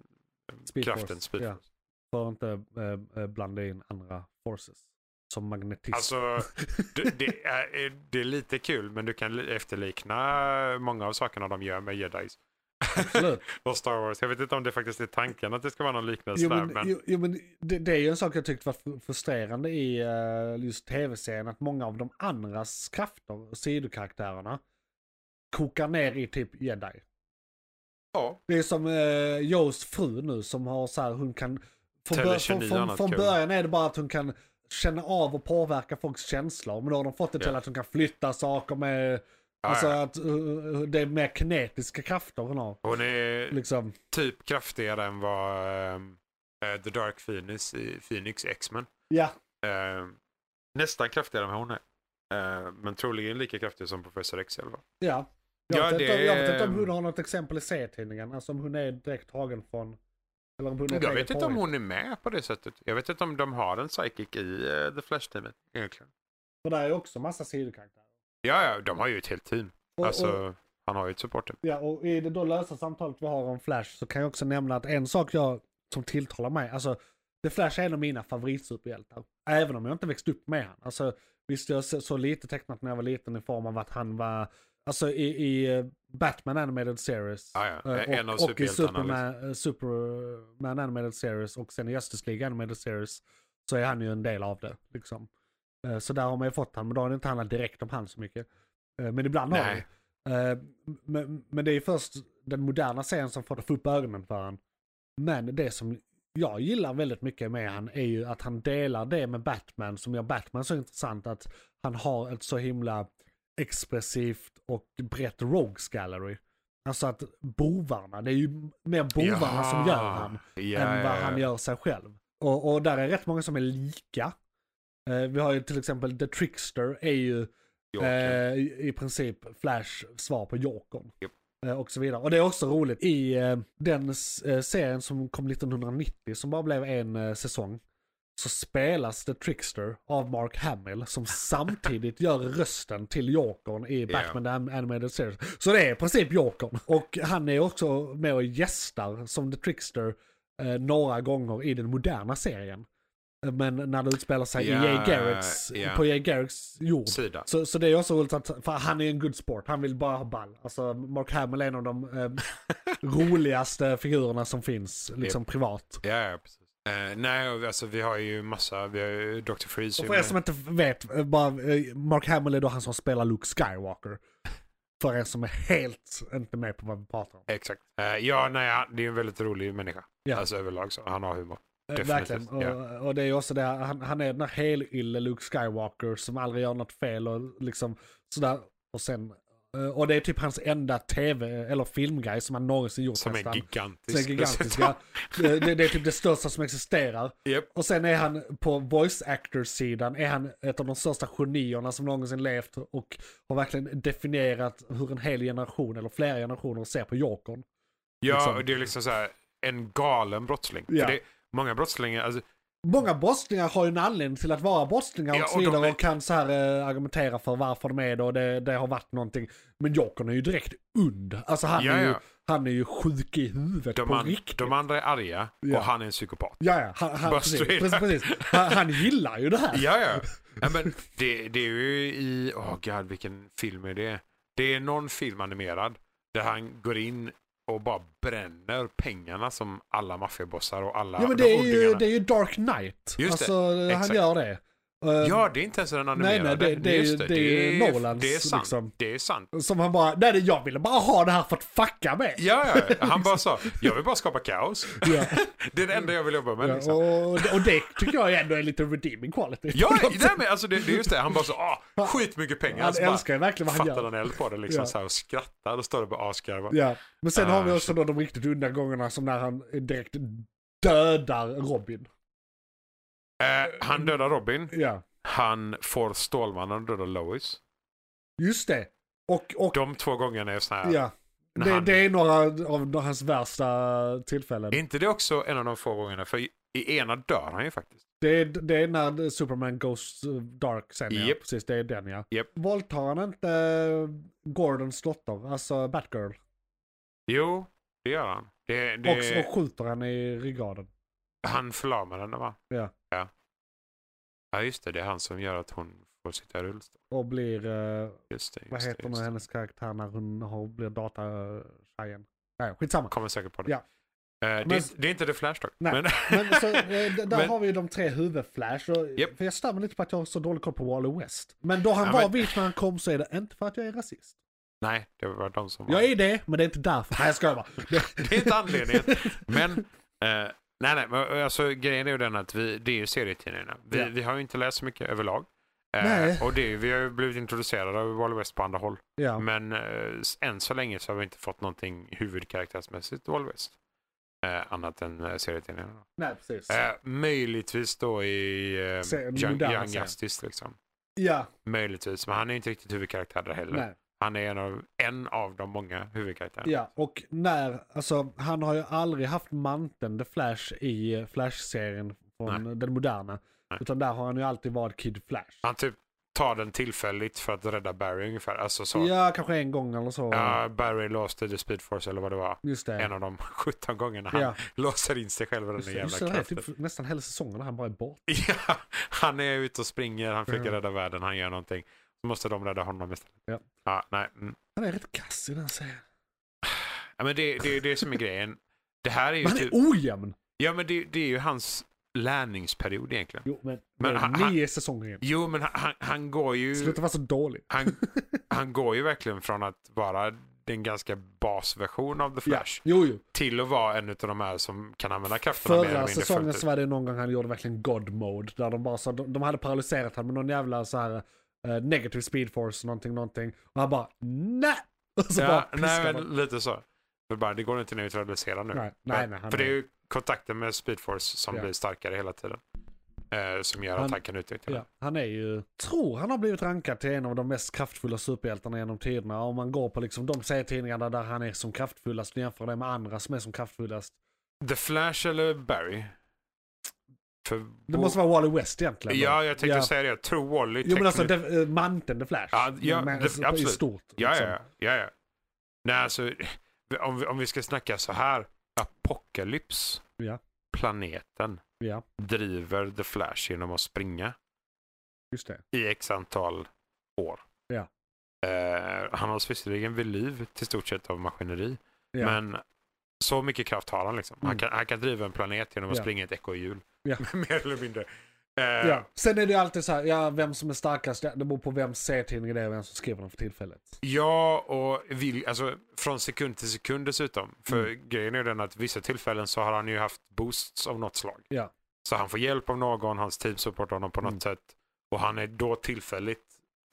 Speed
Kraften,
Force,
Speed
ja.
Force.
för att inte eh, eh, blanda in andra forces. Som magnetism.
Alltså, det, det, är, eh, det är lite kul men du kan li- efterlikna många av sakerna de gör med jedis.
Absolut.
och Star Wars. Jag vet inte om det faktiskt är tanken att det ska vara någon liknelse
Jo
där.
men,
Alltså, Men,
jo, jo, men det, det är ju en sak jag tyckte var fr- frustrerande i eh, just tv-serien. Att många av de andras krafter, sidokaraktärerna, kokar ner i typ jedi.
ja,
Det är som eh, Joes fru nu som har så här, hon kan... Från, bör, från,
Telekini och
från,
annat
från
kul.
början är det bara att hon kan känna av och påverka folks känslor. Men då har de fått det till
Ja.
att hon kan flytta saker med...
Ja,
alltså
ja.
att eh, det är mer kinetiska krafter hon har.
hon är
Liksom.
typ kraftigare än vad ehm, eh, The Dark Phoenix i Phoenix X-Men.
Ja,
Ehm, nästan kraftigare än vad hon är. Ehm, men troligen lika kraftig som Professor X i alla fall.
ja. Jag,
Ja,
vet
det
inte, om- jag vet
är-
inte om hon har något exempel i serietidningen. Alltså om hon är direkt tagen från... Eller om hon är
Jag
tagen
vet inte om
påhitt.
hon är med på det sättet. Jag vet inte om de har en psychic i eh, The Flash-teamet. egentligen.
För där är också massa sidokaraktärer.
Ja, ja, de har ju ett helt team.
Och, och,
alltså, han har ju ett supporter.
Ja, och i det då lösa samtalet vi har om Flash så kan jag också nämna att en sak jag, som tilltalar mig, alltså The Flash är en av mina favoritsuperhjältar. Även om jag inte växt upp med han. Alltså, visst jag så- så lite tecknat när jag var liten i form av att han var, alltså i, i eh, Batman Animated Series.
Ja, ja.
eh,
En av
och, och i
superhjältarna, liksom.
Superman, eh, Superman Animated Series och sen i Justice League Animated Series så är han ju en del av det. Liksom. Eh, Så där har man ju fått han, men då har det inte handlat direkt om han så mycket. Eh, Men ibland har
Nej.
det. Eh, Men, men det är ju först den moderna serien som får det få upp ögonen för han. Men det som jag gillar väldigt mycket med han är ju att han delar det med Batman som gör Batman så intressant att han har ett så himla expressivt och brett Rogues Gallery. Alltså att bovarna, det är ju mer bovarna som gör han
Ja,
än vad
ja,
han
ja.
gör sig själv. Och, och där är rätt många som är lika. Eh, vi har ju till exempel The Trickster är ju
Joker.
eh, i, i princip Flash svar på Jokern.
Japp.
Eh, och så vidare. Och det är också roligt i eh, den s- eh, serien som kom 1990 som bara blev en eh, säsong. Så spelas The Trickster av Mark Hamill som samtidigt gör rösten till Jokern i Batman yeah. Animated Series. Så det är i princip Jokern. Och han är också med och gästar som The Trickster eh, några gånger i den moderna serien. Eh, Men när det utspelar sig
Ja,
i Jay Garricks,
ja.
på Jay Garricks jord.
Sida.
Så, så det är också roligt att, för han är en good sport, han vill bara ha ball. Alltså Mark Hamill är en av de eh, roligaste figurerna som finns, liksom privat.
Ja, ja, precis. Eh, nej, och vi- alltså vi har ju massa, vi har ju Dr. Freeze.
Och
är
för er
med.
som inte vet, eh, bara, eh, Mark Hamill är då han som spelar Luke Skywalker. För er som är helt inte med på vad vi pratar om.
Exakt. Eh, ja, nej, han- det är en väldigt rolig människa.
Ja.
Alltså överlag så. Han har humor.
Eh,
Definitivt,
Verkligen. Och, och det är ju också det, här, han, han är den här helylle Luke Skywalker som aldrig gör något fel och liksom sådär. Och sen, eh, och det är typ hans enda tv eller filmgrej som han någonsin gjort.
Som är
nästan.
gigantisk.
Som är gigantisk.
dessutom.
Ja. Det, det det är typ det största som existerar.
Japp.
Och sen är han på voice actor-sidan, är han ett av de största genierna som någonsin levt och har verkligen definierat hur en hel generation eller flera generationer ser på Jokern.
Ja,
Liksom.
och det är liksom så här en galen brottsling.
Ja.
För det, många brottslingar, alltså,
Många brottslingar har ju en anledning till att vara brottslingar och
Ja,
så
och de
vidare och,
är-
kan så här eh, argumentera för varför de är det och det, det har varit någonting. Men Jokern är ju direkt und. Alltså han,
Ja,
är, ju,
ja.
han är ju sjuk i huvudet
de,
på
an,
riktigt.
de andra är arga
Ja.
och han är en psykopat.
Ja, ja. Han, han,
Bara
precis,
straight
precis,
up.
precis. Han, han gillar ju det här.
Ja, ja. ja men det, det är ju i, åh god vilken film är det? Det är någon film animerad där han går in och bara bränner pengarna som alla maffiabossar och alla
Ja men
de
det är, ju,
ondingarna.
det är ju Dark Knight.
Just det,
alltså han
exakt.
gör det. Eh,
Ja, det är inte ens den
nej,
animerade.
det- det är ju-
Just
det är ju Nolans,
Det är sant.
liksom.
Det är sant.
Som han bara, nej nej, jag ville bara ha det här för att fucka med.
Ja, ja. han bara sa, jag vill bara skapa kaos.
Ja.
det är det enda jag vill jobba med.
Ja,
liksom.
och, och det tycker jag ändå är lite redeeming quality.
Ja, nej, men alltså det, det är just det. Han bara så, ah, skitmycket pengar.
Han
Och så bara
älskar ju verkligen vad han
fattar
gör.
han eld på det liksom
Ja.
så här, och skrattar och står och bara asgarvar.
Ja. Men sen har vi
Ah,
också då de riktigt udda gångerna som när han direkt dödar Robin.
Eh, han dödar Robin.
Ja,
Han får Stålmannen att döda Lois.
just det. Och, och
De två gångerna är såna här.
ja.
när
Det,
han-
det är några av hans värsta tillfällen.
Är inte det också en av de få gångerna? För i, i ena dör han ju faktiskt.
Det är, det är när Superman Goes eh, Dark sen ja.
Japp.
Precis, det är den ja.
Japp.
Våldtar han inte eh, Gordons dotter, alltså Batgirl?
Jo, det gör han. Det,
Och
det,
så skjuter han i ryggraden.
Han förlamar henne va?
Ja.
ja. Ja, just det. Det är han som gör att hon får sitta i rullstol.
Och blir, eh,
Just det. Just
vad
det,
heter nu
just det.
hennes karaktär när hon har, blir datatjejen? Nej, skitsamma.
Kommer säkert på det.
Ja.
Eh, det,
Men-
det är inte The Flash dock.
Nej,
Men,
Men så, eh, d- där
Men-
har vi ju de tre huvudflash. Och,
Japp.
För jag stämmer lite på att jag har så dålig koll på Wally West. Men då han
Ja,
var
men-
vit när han kom så är det inte för att jag är rasist.
nej, det var de som var.
Jag är det, men det är inte därför. Nej, jag skojar bara.
Det är inte anledningen. Men, eh, nej, nej, men alltså, grejen är ju den att vi, det är ju serietidningarna. Vi,
Ja.
vi har ju inte läst så mycket överlag. Eh,
Nej.
och det, är- vi har ju blivit introducerade av Wally West på andra håll.
Ja.
Men eh, s- än så länge så har vi inte fått någonting huvudkaraktärsmässigt Wally West. Eh, annat än eh, serietidningarna.
Nej, precis.
Eh, möjligtvis då i eh,
Se-
Young,
moderna
Young
serien.
Justice. Liksom.
Ja,
Möjligtvis, men han är inte riktigt huvudkaraktär där heller.
nej.
Han är en av, en av de många huvudkaraktärerna.
Ja, och när, alltså han har ju aldrig haft manteln The Flash i eh, Flash-serien från den moderna.
Nej.
Utan där har han ju alltid varit Kid Flash.
Han typ tar den tillfälligt för att rädda Barry ungefär. Alltså så.
Ja, kanske en gång eller så.
Ja, Barry låste The Speed Force eller vad det var.
Just det.
En av de 17 gångerna han
ja,
låser in sig själv i den
just,
där
det, just
jävla
det, det är
kraften.
typ nästan hela säsongen när han bara är borta.
Ja, han är ute och springer, han försöker
Ja.
rädda världen, han gör någonting. Så måste de rädda honom istället.
Ja.
Ja, nej. Mm.
Han är rätt kass i den serien.
Ja, men det, det är ju det som är grejen. Det här är ju
Men han
typ...
är ojämn!
Ja, men det, det är ju hans lärningsperiod egentligen.
Jo, men,
Men
det är
han- han-
nio säsonger igen.
Jo, men han- han, han går ju...
Sluta vara så dålig.
Han, han går ju verkligen från att vara den ganska basversion av The
Ja,
Flash
jo, jo.
till att vara en av de här som kan använda krafterna mer eller
Förra
mindre
säsongen
fullt
så
ut.
var det någon gång han gjorde verkligen God mode. Där de bara sa, de, de hade paralyserat honom med någon jävla så här eh, negative speed force någonting, någonting. Och han bara nej! Och så bara
Ja, nej,
piskade
men
han.
lite så. Det, bara, det går inte att neutralisera nu.
Nej, nej, nej, han
För det är
är-
ju kontakten med Speedforce som
Ja.
blir starkare hela tiden. Eh, som gör
Han-
att han kan utnyttja
Ja, han är ju, tror han har blivit rankad till en av de mest kraftfulla superhjältarna genom tiderna. Om man går på liksom de serietidningarna där han är som kraftfullast och jämför det med andra som är som kraftfullast.
det. The Flash eller Barry? För
Det måste vara Wally West egentligen. då.
Ja, jag tänkte
Ja.
säga det. Jag tror Wally
Jo men alltså
tekniskt-
det, eh, manteln The Flash.
Ja, ja,
Men
det-
alltså, i
absolut.
stort.
Ja,
liksom.
ja, ja, ja. Nej, alltså, om vi, om vi ska snacka så här. Apocalypse,
Ja.
planeten,
ja,
driver The Flash genom att springa
just det.
i x antal år.
Ja.
Eh, han hålls visserligen vid liv till stort sett av maskineri,
Ja.
men Så mycket kraft har han liksom. Han,
Mm.
kan, han kan driva en planet genom att
Ja.
springa ett ekorrhjul.
Ja.
Mer eller mindre. Eh,
Ja. Sen är det ju alltid så här, ja, vem som är starkast, ja, det beror på vem serietidningen är och vem som skriver den för tillfället.
Ja, och vill, alltså, från sekund till sekund dessutom. För
Mm.
grejen är ju den att vissa tillfällen så har han ju haft boosts av något slag.
Ja.
Så han får hjälp av någon, hans team supportar honom på något
Mm.
sätt. Och han är då tillfälligt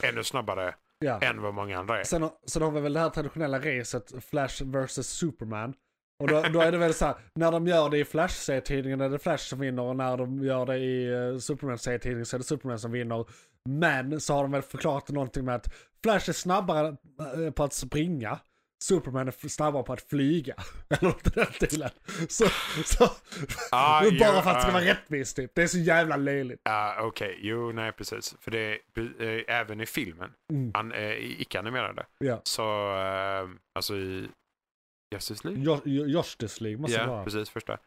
ännu snabbare
Ja.
än vad många andra är.
Sen, har- sen har vi väl det här traditionella racet Flash vs Superman. Och då, då är det väl så här, när de gör det i Flash-serietidningen är det Flash som vinner och när de gör det i eh, Superman-serietidningen så är det Superman som vinner. Men så har de väl förklarat någonting med att Flash är snabbare eh, på att springa. Superman är f- snabbare på att flyga. Eller något i den stilen. Så, så,
Ah, jo,
bara för att det ska
ah.
vara rättvist typ. Det är så jävla löjligt.
Ja, okej. Jo, nej, precis. För det är eh, även i filmen,
Mm.
an, eh, i icke-animerade,
Ja.
så, eh, alltså i Justice League?
Jo- Jo- Justice League Mm, måste
Ja,
det vara.
precis, första. Eh,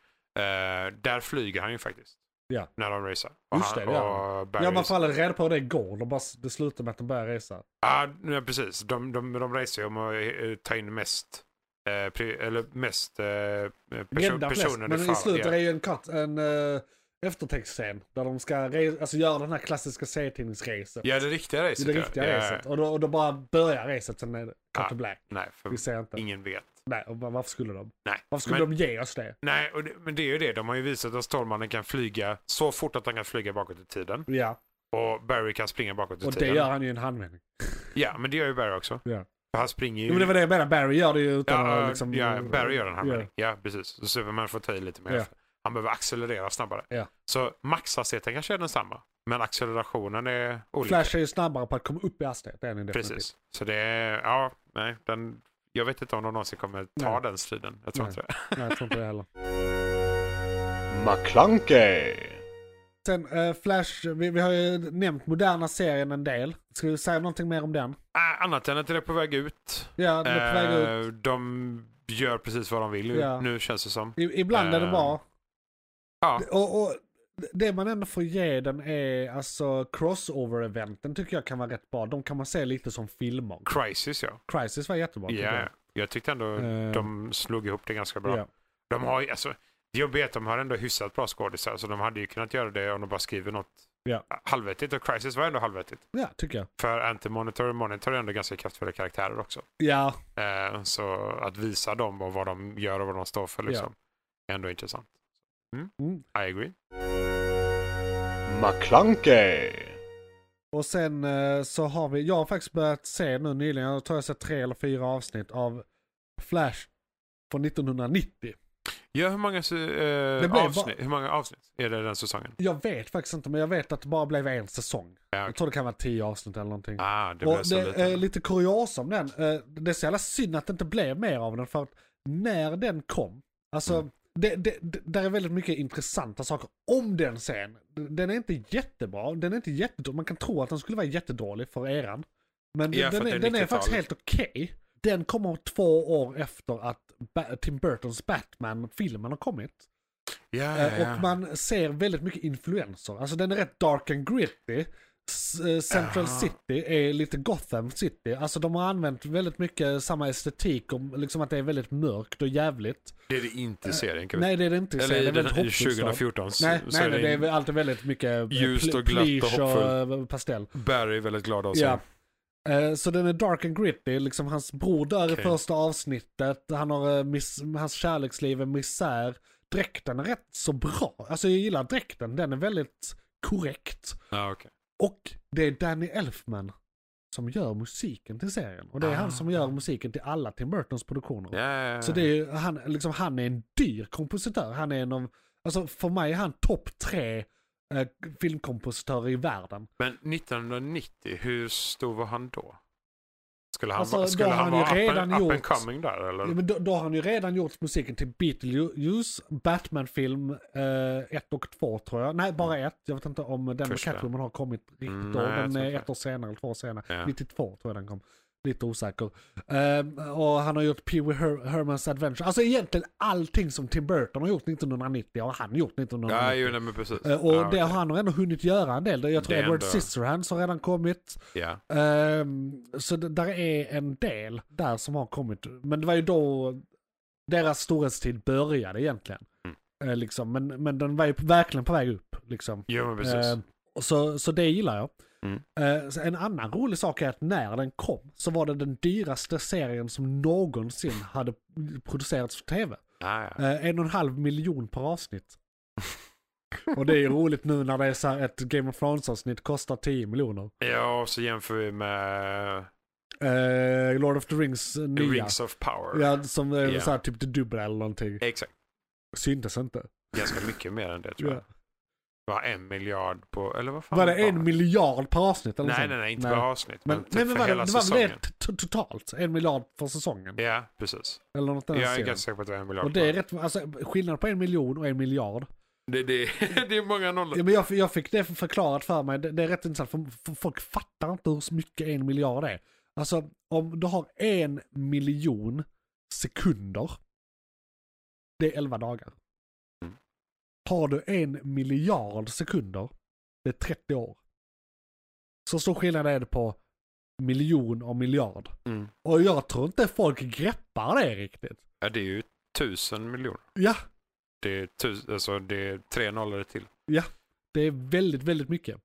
där flyger han ju faktiskt.
Ja.
När de racear. Och
Just
han-
det, det gör han.
och Barry
Ja, man
racear.
får aldrig reda på hur det går. De bara, det slutar med att de börjar resa.
Ja, nej, precis. De, de, de racear ju om att eh, ta in mest, eh, pri, eller mest eh, perso-
Rädda flest,
personer
men i
fall.
slutet
Ja.
är ju en, cut, en eh, eftertextscen där de ska re- alltså, göra den här klassiska serietidningsracet.
ja, det riktiga
I
racet.
det
ja.
riktiga
Ja, Ah.
racet. Och då, och då bara börjar racet, sen är det cut
Ja.
to black.
Nej, för
Vi ser inte.
ingen vet.
Nej, och varför skulle de?
Nej.
Varför skulle
men,
de ge oss det?
Nej, och det, men det är ju det. De har ju visat att Stålmannen kan flyga så fort att han kan flyga bakåt i tiden.
Ja,
Och Barry kan springa bakåt i
och det
tiden.
gör han ju i en handvändning.
Ja, men det gör ju Barry också.
Ja.
För han springer ju...
Jo, men det var det jag menade, Barry gör det ju utan
Mm. ja,
att liksom...
ja, Barry gör den här yeah. Ja, precis. Så Superman får ta i lite mer.
Ja.
Han behöver accelerera snabbare.
Ja.
Så maxhastigheten kanske är densamma. Men accelerationen är olika.
Flash är ju snabbare på att komma upp i hastighet än i
Precis. Så det är, ja, nej, den, jag vet inte om de någonsin kommer ta
Nej.
den striden. Jag tror
Nej.
inte det.
Nej, jag tror inte det heller.
McClunkey,
Sen eh, Flash, vi, vi har ju nämnt moderna serien en del. Ska du säga någonting mer om den?
Äh, annat än att det är på väg ut.
Ja, den är på väg ut.
Eh, De gör precis vad de vill ju,
Ja.
nu känns det som.
I, ibland är det
eh,
bra.
Ja,
Och, och det man ändå får ge den är alltså crossover-eventen tycker jag kan vara rätt bra. De kan man se lite som filmer.
Crisis ja.
Crisis var jättebra.
Ja,
tycker
ja. jag tyckte ändå
Eh.
de slog ihop det ganska bra.
jag. Ja.
De har ju, alltså, det jobbiga är att de har ändå hyfsat bra skådisar, så de hade ju kunnat göra det om de bara skriver något
Ja.
halvvettigt. Och Crisis var ändå halvvettigt.
ja, tycker jag.
För Anti-Monitor och Monitor är ändå ganska kraftfulla karaktärer också.
Ja,
Eh, så att visa dem och vad de gör och vad de står för liksom, är ändå intressant. Mm?
Mm.
I agree.
McClunkey,
och sen eh, så har vi, jag har faktiskt börjat se nu nyligen, jag tror jag sett tre eller fyra avsnitt av Flash från 1990.
Ja, hur många, se- eh,
Det blev
avsnitt, hur många avsnitt är det den säsongen?
Jag vet faktiskt inte, men jag vet att det bara blev en säsong.
Ja,
Jag tror det kan vara tio avsnitt eller någonting.
Ah, det blev
Och
så
det
lite.
är lite kuriosa om den. Eh, Det är så jävla synd att det inte blev mer av den för att när den kom, alltså
Mm.
det, det, det, där är väldigt mycket intressanta saker om den sen. Den är inte jättebra, den är inte jättedålig. Man kan tro att den skulle vara jättedålig för eran. Men
Ja, för
den,
att
är,
det är
den är faktiskt
90-talet.
helt okej. Den kommer två år efter att ba- Tim Burtons Batman-filmen har kommit.
ja,
Eh,
ja, ja.
Och man ser väldigt mycket influenser. Alltså den är rätt dark and gritty. S- eh, Central
Jaha.
City är lite Gotham City. Alltså de har använt väldigt mycket samma estetik, och liksom att det är väldigt mörkt och jävligt.
Det är det inte i serien. Kan vi
Nej det är det inte, i
Eller
serien.
i
det är
den,
väldigt
i
hoppfullt. stad.
2014 s-
Nej,
så
nej,
är
nej, det är
det
väl alltid väldigt mycket eh,
Ljust
pl-
och glatt och
plysch och eh, pastell.
Barry väldigt glad av sig.
Ja. Eh, Så den är dark and gritty, liksom hans bror dör i
Okej.
första avsnittet, han har, eh, miss, hans kärleksliv är misär. Dräkten är rätt så bra, alltså jag gillar dräkten, den är väldigt korrekt.
Ja, okej.
Och det är Danny Elfman som gör musiken till serien. Och det är
Ah.
han som gör musiken till alla Tim Burtons produktioner.
Ja, ja, ja.
Så det är ju, han, liksom, han är en dyr kompositör. Han är en av, alltså för mig är han topp tre eh, filmkompositörer i världen.
Men 1990, hur stor var han då? Skulle han,
Alltså,
vara-
då
skulle
har
han
han ju
vara up,
redan
and, up and
gjort-
coming där? Eller?
Ja, men då, då har han ju redan gjort musiken till Beetlejuice, Batman-film 1 och 2 tror jag. Nej, bara ett. Jag vet inte om den med
Mm. Första.
Catwoman har kommit riktigt
Mm,
då.
nej, jag
Den
tror
är
inte
ett år senare eller två år senare.
Ja.
92 tror jag den kom. Lite osäker. Ehm, och han har gjort Pee Wee Her- Hermans Adventure. Alltså egentligen allting som Tim Burton har gjort 1990 har han gjort 1990.
ja, ju, nej, men precis.
Eh, och
ja,
det
okej.
har han ändå hunnit göra en del. Jag tror
Det är
Edward
ändå-
Scissorhands har redan kommit.
ja.
Ehm, så det, där är en del där som har kommit. Men det var ju då deras storhetstid började egentligen.
Mm.
Eh, liksom, men, men den var ju verkligen på väg upp. Liksom.
Jo, men precis.
Eh, och så, så det gillar jag.
Mm.
Eh, så en annan rolig sak är att när den kom så var det den dyraste serien som någonsin hade producerats för tv.
ja, ja.
Eh, en och en halv miljon per avsnitt. och det är ju roligt nu när det är så här ett Game of Thrones-avsnitt kostar 10 miljoner.
ja, och så jämför vi med
Eh, Lord of the Rings eh,
The
nya.
Rings of Power.
Ja, som är
Ja. Eh,
så här, typ det dubbla eller någonting.
Exakt.
Syntes inte.
Ganska mycket mer än det tror jag.
Ja.
Var en miljard på, eller vad fan
Var det en miljard per avsnitt? Eller
Nej,
sånt?
nej, nej, inte per avsnitt. Men,
Men,
typ
nej, men
för
var det,
hela
det var väl
säsongen.
det t- totalt? En miljard för säsongen?
Ja, precis.
Eller något annat
Jag är ganska säker på att det var en miljard.
Och det är rätt, alltså skillnad på en miljon och en miljard.
det, det, det är många nollor.
Ja, men jag, jag fick det förklarat för mig, det, det är rätt intressant, för, för folk fattar inte hur mycket en miljard är. Alltså om du har en miljon sekunder, det är elva dagar.
Mm.
Har du en miljard sekunder, det är 30 år. Så stor skillnad är det på miljon och miljard.
Mm.
Och jag tror inte folk greppar det riktigt.
Ja, det är ju tusen miljoner.
Ja,
Det är, tus, alltså, det är tre nollor till.
det är väldigt, väldigt mycket.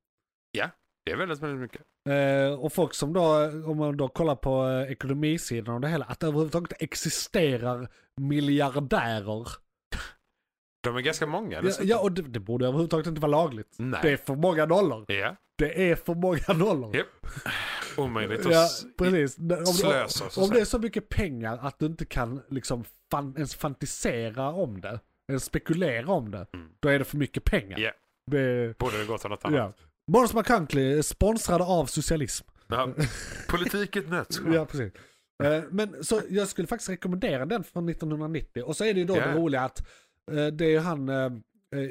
Det är väldigt, väldigt mycket.
Eh, och folk som då, om man då kollar på eh, ekonomisidan och det hela, att det överhuvudtaget existerar miljardärer.
De är ganska många.
Ja,
dessutom.
ja och det, det borde överhuvudtaget inte vara lagligt.
Nej.
Det är för många nollor.
Ja,
Det är för många nollor.
Japp, omöjligt att
Ja,
s-
precis. Om, om,
slösa. så
om
att
det är
säga.
så mycket pengar att du inte kan liksom fan, ens fantisera om det, ens spekulera om det,
Mm.
då är det för mycket pengar.
Ja.
Det,
Borde det gå till något annat.
ja. Morris McCunckley är sponsrade av socialism.
Ja. Politik i ett nötskal.
Ja, precis. Eh, Men så jag skulle faktiskt rekommendera den från 1990. Och så är det ju då
Ja.
det roliga att eh, det är ju han, eh, eh,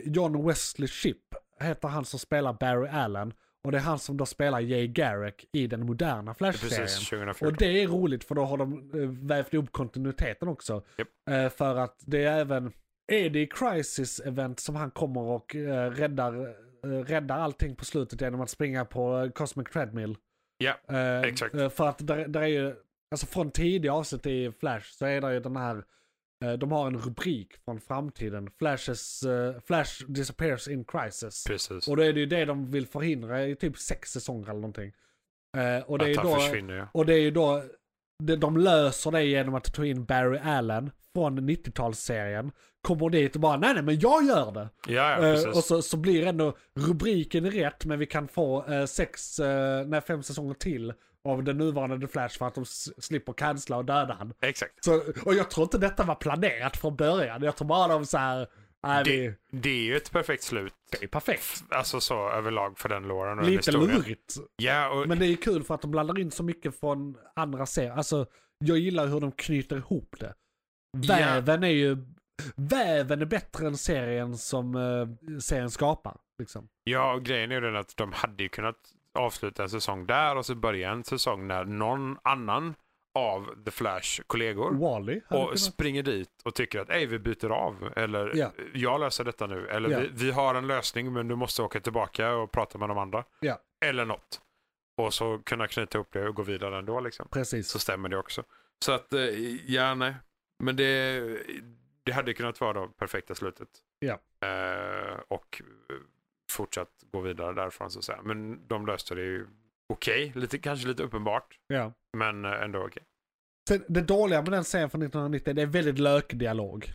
John Wesley Shipp, heter han som spelar Barry Allen. Och det är han som då spelar Jay Garrick i den moderna
Precis,
Flash-serien.
2014.
Och det är roligt för då har de eh, vävt ihop kontinuiteten också.
Japp.
Eh, För att det är även, är det i Crisis Event som han kommer och eh, räddar, eh, räddar allting på slutet genom att springa på eh, Cosmic Treadmill.
Ja,
Eh,
Exakt.
eh, För att där, där är ju, alltså från tidiga avsnitt i Flash så är det ju den här, eh, de har en rubrik från framtiden. Flashes, eh, Flash disappears in crisis.
precis.
Och då är det ju det de vill förhindra i typ sex säsonger eller någonting. Eh, Och det är
att
ju
han
då,
försvinner, ja.
och det är ju då, det- de löser det genom att ta in Barry Allen från 90-talsserien. Kommer dit och bara, nej nej men jag gör det.
Ja, ja,
Eh,
precis.
och så, så blir ändå rubriken rätt men vi kan få eh, sex, eh, nej, fem säsonger till av den nuvarande The Flash för att de s- slipper cancella och döda han.
Exakt.
Så, och jag tror inte detta var planerat från början. Jag tror bara de så här, nej vi,
Det, det är ju ett perfekt slut.
det är perfekt.
Alltså så överlag för den låren och
Lite
den historien.
lurigt.
Ja, och
Men det är ju kul för att de blandar in så mycket från andra serier. Alltså, jag gillar hur de knyter ihop det.
Ja.
Väven är ju, väven är bättre än serien som eh, serien skapar. Liksom.
Ja, och grejen är ju den att de hade ju kunnat avsluta en säsong där och så börja en säsong när någon annan av The Flash kollegor
Wally. hade
och
kunnat-
springer dit och tycker att Ej, vi byter av eller
Ja.
jag löser detta nu eller
Ja.
vi, vi har en lösning men du måste åka tillbaka och prata med de andra.
Ja.
Eller något. Och så kunna knyta ihop det och gå vidare ändå liksom.
Precis.
Så stämmer det också. Så att, eh, ja nej. Men det, det hade kunnat vara det perfekta slutet.
Ja.
Eh, och eh, fortsatt gå vidare därifrån så att säga. Men de löste det ju okej, lite, kanske lite uppenbart.
Ja.
Men eh, ändå okej.
Sen, det dåliga med den serien från 1990, det är väldigt lökdialog.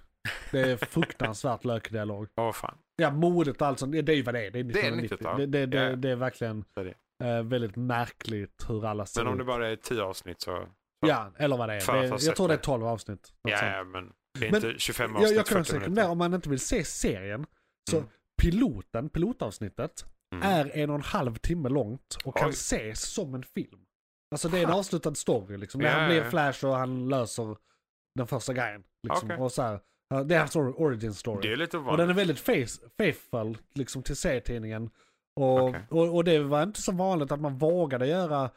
Det är fruktansvärt lökdialog.
Åh fan.
Ja, modet och allt sånt, det det är ju vad det är. Det är
Det är
1990.
90-tal.
Det, det, det,
Ja.
det är verkligen
Det är det.
eh, väldigt märkligt hur alla ser
Men om
ut.
det bara är tio avsnitt så,
Ja, eller vad det
För att
är.
ha
Det,
sett
jag tror det är
det.
12 avsnitt. något
ja,
sånt.
ja men det är
Men
inte 25
jag,
avsnitt,
jag kan också
40
rekommendera,
minuter.
om man inte vill se serien, så
Mm.
piloten, pilotavsnittet,
Mm.
är en och en halv timme långt och kan
Oj.
ses som en film. Alltså det är en
Ha.
avslutad story liksom. När
Ja,
han
ja,
blir
ja.
Flash och han löser den första grejen. Liksom.
Okej.
Och så här, ja, det är hans or- origin
Det
story.
är lite
Och den
ovanligt.
är väldigt faith- faithful liksom, till serietidningen. Och,
Okej.
och, och det var inte så vanligt att man vågade göra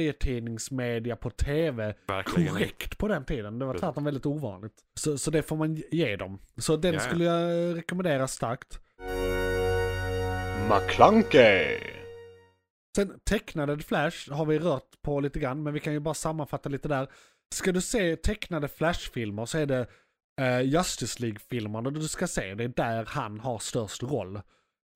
serietidningsmedia på tv
Verkligen.
korrekt på den tiden. Det var
Precis.
tvärtom väldigt ovanligt. Så, så det får man ge dem. Så den
Ja, ja.
skulle jag rekommendera starkt.
McClunkey,
Sen tecknade The Flash har vi rört på lite grann, men vi kan ju bara sammanfatta lite där. Ska du se tecknade Flash-filmer så är det eh, Justice League-filmerna du ska se. Det är där han har störst roll.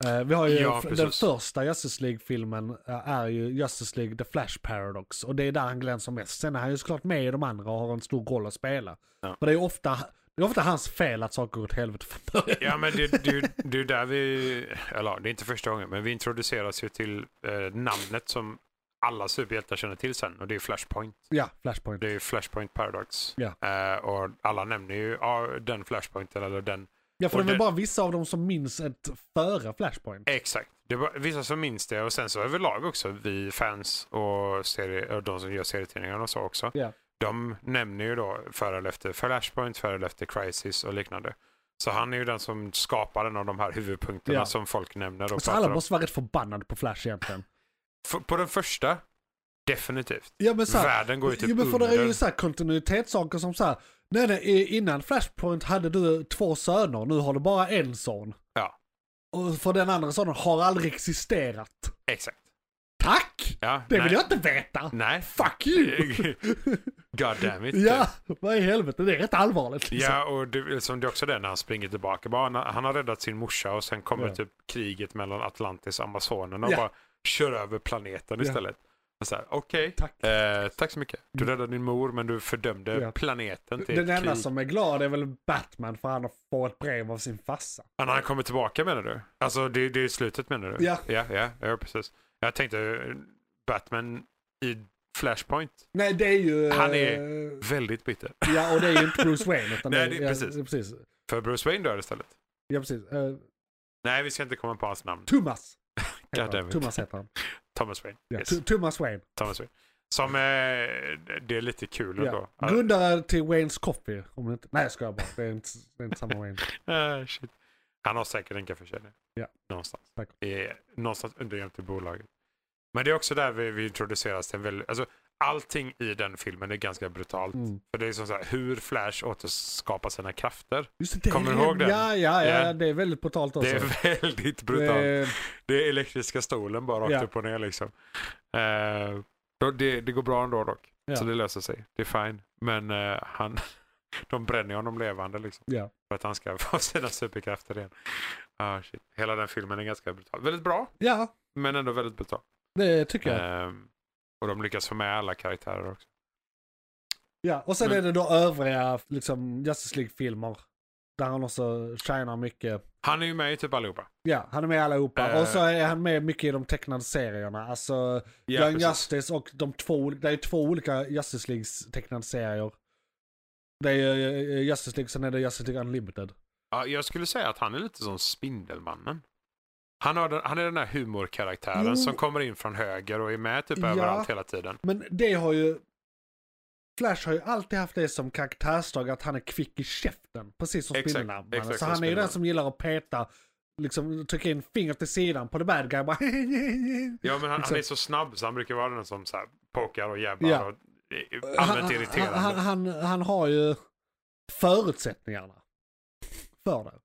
Eh, vi har ju
Ja,
f- den
precis.
första Justice League-filmen eh, är ju Justice League The Flash Paradox och det är där han glänser mest. Sen är han ju såklart med i de andra och har en stor roll att spela.
Ja.
Men det är ju ofta, det är ofta hans fel att saker går åt helvete från början.
Ja, men det, det, det är där vi, eller det är inte första gången, men vi introduceras ju till eh, namnet som alla superhjältar känner till sen och det är Flashpoint.
Ja, Flashpoint.
Det är ju Flashpoint Paradox.
Ja.
Eh, och alla nämner ju ja, den Flashpointen eller den.
Ja, för
och
det är väl
det-
bara vissa av dem som minns ett före Flashpoint.
Exakt. Det var vissa som minns det och sen så överlag också vi fans och, serie, och de som gör serietidningarna och så också.
Ja.
De nämner ju då före eller efter Flashpoint, före eller efter Crisis och liknande. Så han är ju den som skapar en av de här huvudpunkterna
Ja.
som folk nämner. Och
Så
pratar
alla
om.
måste vara rätt förbannade på Flash egentligen.
F- på den första, definitivt.
Ja men såhär,
Världen går ju typ
jo, men för det är ju
under.
såhär kontinuitetssaker som såhär, nej nej innan Flashpoint hade du två söner, nu har du bara en son.
Ja.
Och för den andra sonen har aldrig existerat.
Exakt.
Tack!
Ja,
Det
nej.
vill jag inte veta!
Nej.
Fuck you!
God damn it.
ja, vad i helvete, det är rätt allvarligt liksom.
Ja, och det, liksom, det är också det när han springer tillbaka. Bara, han, han har räddat sin morsa och sen kommer
Ja.
typ kriget mellan Atlantis och Amazonerna och
Ja.
bara kör över planeten
Ja.
istället. Och så här, Okej,
Tack. Mm.
eh, tack så mycket. Du räddade din mor men du fördömde
Ja.
planeten till
Den
ett
enda
krig.
som är glad är väl Batman för han får ett brev av sin farsa.
Ja, när han kommer tillbaka menar du? Alltså det, det är slutet menar du?
Ja.
ja. Ja, ja, precis. Jag tänkte eh, Batman i Flashpoint,
Nej det är ju...
Han
är...
väldigt bitter.
Ja och det är ju inte Bruce Wayne utan
Nej,
det,
det-
ja,
precis.
Ja, precis.
För Bruce Wayne dör istället.
Ja, precis. Eh,
Nej, vi ska inte komma på hans namn.
Thomas. heter
God damn
han.
it.
Thomas heter han.
Thomas Wayne.
Ja,
Yes.
Th- Thomas Wayne.
Thomas Wayne. Som, eh, det är lite kul
Ja.
ändå. Att-
Grundare till Waynes Coffee. Om det inte... Nej jag skojar bara. Det är inte, det är inte samma Wayne.
Ah, shit. Han har säkert en kaffekedja.
Ja.
Någonstans.
Säkert.
I, någonstans underjämte bolaget. Men det är också där vi, vi introduceras till en väldigt, alltså allting i den filmen är ganska brutalt.
Mm.
För det är som så här, hur Flash återskapar sina krafter.
Just det, det är
Kommer du
det.
ihåg den?
Ja, ja, ja.
Ja.
Det är väldigt brutalt också.
Det är väldigt brutalt.
Det är-
Det är elektriska stolen bara rakt
Ja.
upp och ner liksom. Eh, då- det, det går bra ändå dock.
Ja.
Så det löser sig. Det är fine. Men eh, han, de bränner honom levande liksom.
Ja.
För att han ska få sina superkrafter igen. Ah, shit. Hela den filmen är ganska brutal. Väldigt bra,
ja,
men ändå väldigt brutal.
det tycker jag.
Ehm, och de lyckas få med alla karaktärer också.
Ja. Och sen
men-
är det då övriga liksom, Justice League-filmer. Där han också shinar mycket.
Han är ju med i typ allihopa.
Ja, han är med i allihopa.
Eh.
Och så är han med mycket i de tecknade serierna. Alltså,
Ja,
Young
precis.
Justice och de två, ol- det är två olika Justice Leagues tecknade serier. Det är eh, Justice League, sen är det Justice League Unlimited.
Ja, jag skulle säga att han är lite som Spindelmannen. Han, har den, han är den här humorkaraktären
Jo.
som kommer in från höger och är med typ
Mm. Ja.
överallt hela tiden.
Men det har ju... Flash har ju alltid haft det som karaktärsdrag att han är kvick i käften. Precis som
Exakt,
Spindelmannen. Så
exakt som
han är ju den
Spindelmannen.
som gillar att peta, liksom trycka in fingret till sidan på the bad guy. Bara,
Ja, men han, han
Liksom.
är så snabb så han brukar vara den som så här, pokar och jabbar
Ja.
och är
han,
allmänt irriterande.
han, han, han har ju förutsättningarna för det.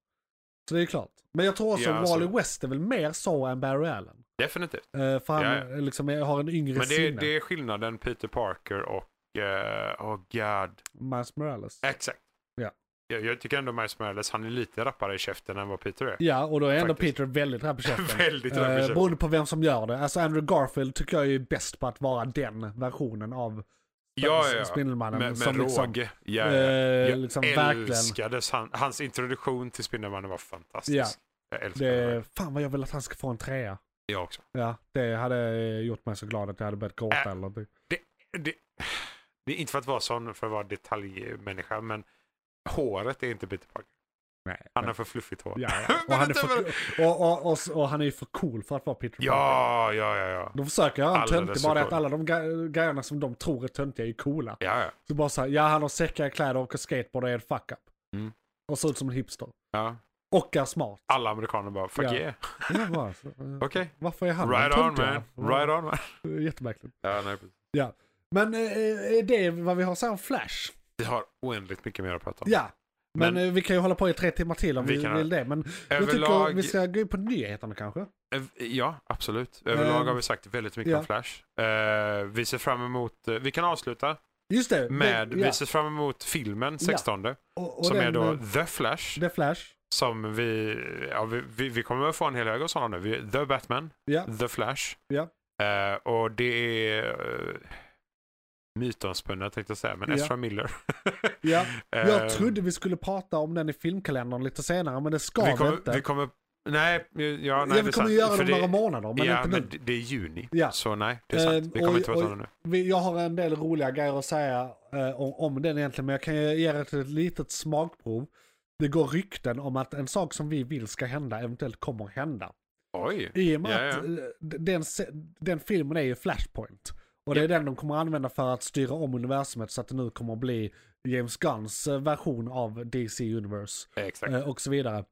Så det är klart. Men jag tror också
Ja,
att
alltså-
Wally West är väl mer så än Barry Allen.
Definitivt.
Eh, För han
Ja, ja.
eh, liksom är- har en yngre
Men det,
sinne.
det är skillnaden Peter Parker och... eh, oh god.
Miles Morales.
Exakt.
Ja.
Jag, jag tycker ändå Miles Morales, han är lite rappare i käften än vad Peter är.
Ja, och då är ändå
Faktiskt.
Peter väldigt rapp i käften.
Väldigt rapp i
Eh,
käften.
Beroende på vem som gör det. Alltså Andrew Garfield tycker jag är bäst på att vara den versionen av
Ja, ja, ja.
Spindelmannen.
Med, med
som liksom,
råge. Ja, ja.
eh,
Jag
liksom verkligen.
älskades han, hans introduktion till Spindelmannen var fantastisk.
Ja.
Jag älskar det...
Det, fan vad jag vill att han ska få en trea.
Jag också.
Ja, det hade gjort mig så glad att jag hade börjat gråta
Äh.
eller någonting.
Det, det är inte för att vara sån, för att vara detaljmänniska, men håret är inte Peter Parker.
Nej.
Han har för fluffigt hår.
ja, ja.
Men
Och, han är
inte
för,
väl-
och, och, och, och han är ju för cool för att vara Peter Parker.
Ja, ja, ja, ja.
De försöker göra en
Alldeles
töntig,
för
bara det att
cool.
alla de ga- grejerna som de tror är töntiga är coola.
Ja, ja.
Så bara såhär, ja han har säckar kläder, åker skateboard och är en fuck-up.
Mm.
Och ser ut som en hipster.
ja.
Och är smart.
Alla amerikaner bara, fuck
Ja.
yeah.
Ja, bara, så, eh,
Okej.
Varför är han
Right
den
on
töntiga?
man. Right on man.
Eh, Jättemärkligt.
Ja, nej, precis.
Men eh, är det vad vi har att säga om Flash?
Vi har oändligt mycket mer att prata om.
Ja. Men,
Men-
eh, vi kan ju hålla på i tre timmar till om
Vi
vi,
kan-
vill det. Men jag
Överlag,
tycker vi ska gå in på nyheterna kanske.
ev- ja absolut. Överlag
Ehm,
har vi sagt väldigt mycket
ja.
om Flash. Eh, vi ser fram emot, eh, vi kan avsluta
Just det.
Med,
det,
Vi
ja.
ser fram emot filmen 16.
och, och
som
den,
är då
eh,
The Flash.
The Flash.
Som vi, ja, vi, vi, vi kommer att få en hel hög av sådana nu. Vi- The Batman,
Ja.
The Flash.
Ja.
Eh, och det är uh, mytomspunnet tänkte jag säga, men
Ja.
Ezra Miller.
Ja.
Eh,
Jag trodde vi skulle prata om den i filmkalendern lite senare, men det ska
vi
vi
kommer,
inte.
Vi kommer, nej, ja, nej
ja,
det är
vi kommer
sant.
ju göra
För
det om några månader, men
ja,
inte
men
nu.
det- det är juni.
Ja.
Så nej, det är sant. Vi
Eh,
kommer
och-
inte prata
och-
om det nu.
Vi, jag har en del roliga grejer att säga eh, om, om den egentligen, men jag kan ju ge er ett litet smakprov. Det går rykten om att en sak som vi vill ska hända eventuellt kommer hända.
Oj.
I och med
Ja, ja.
att eh, d- den, se- den filmen är ju Flashpoint. Och det är den de kommer använda för att styra om universumet så att det nu kommer att bli James Gunns eh, version av DC Universe.
Exakt.
eh, och så vidare.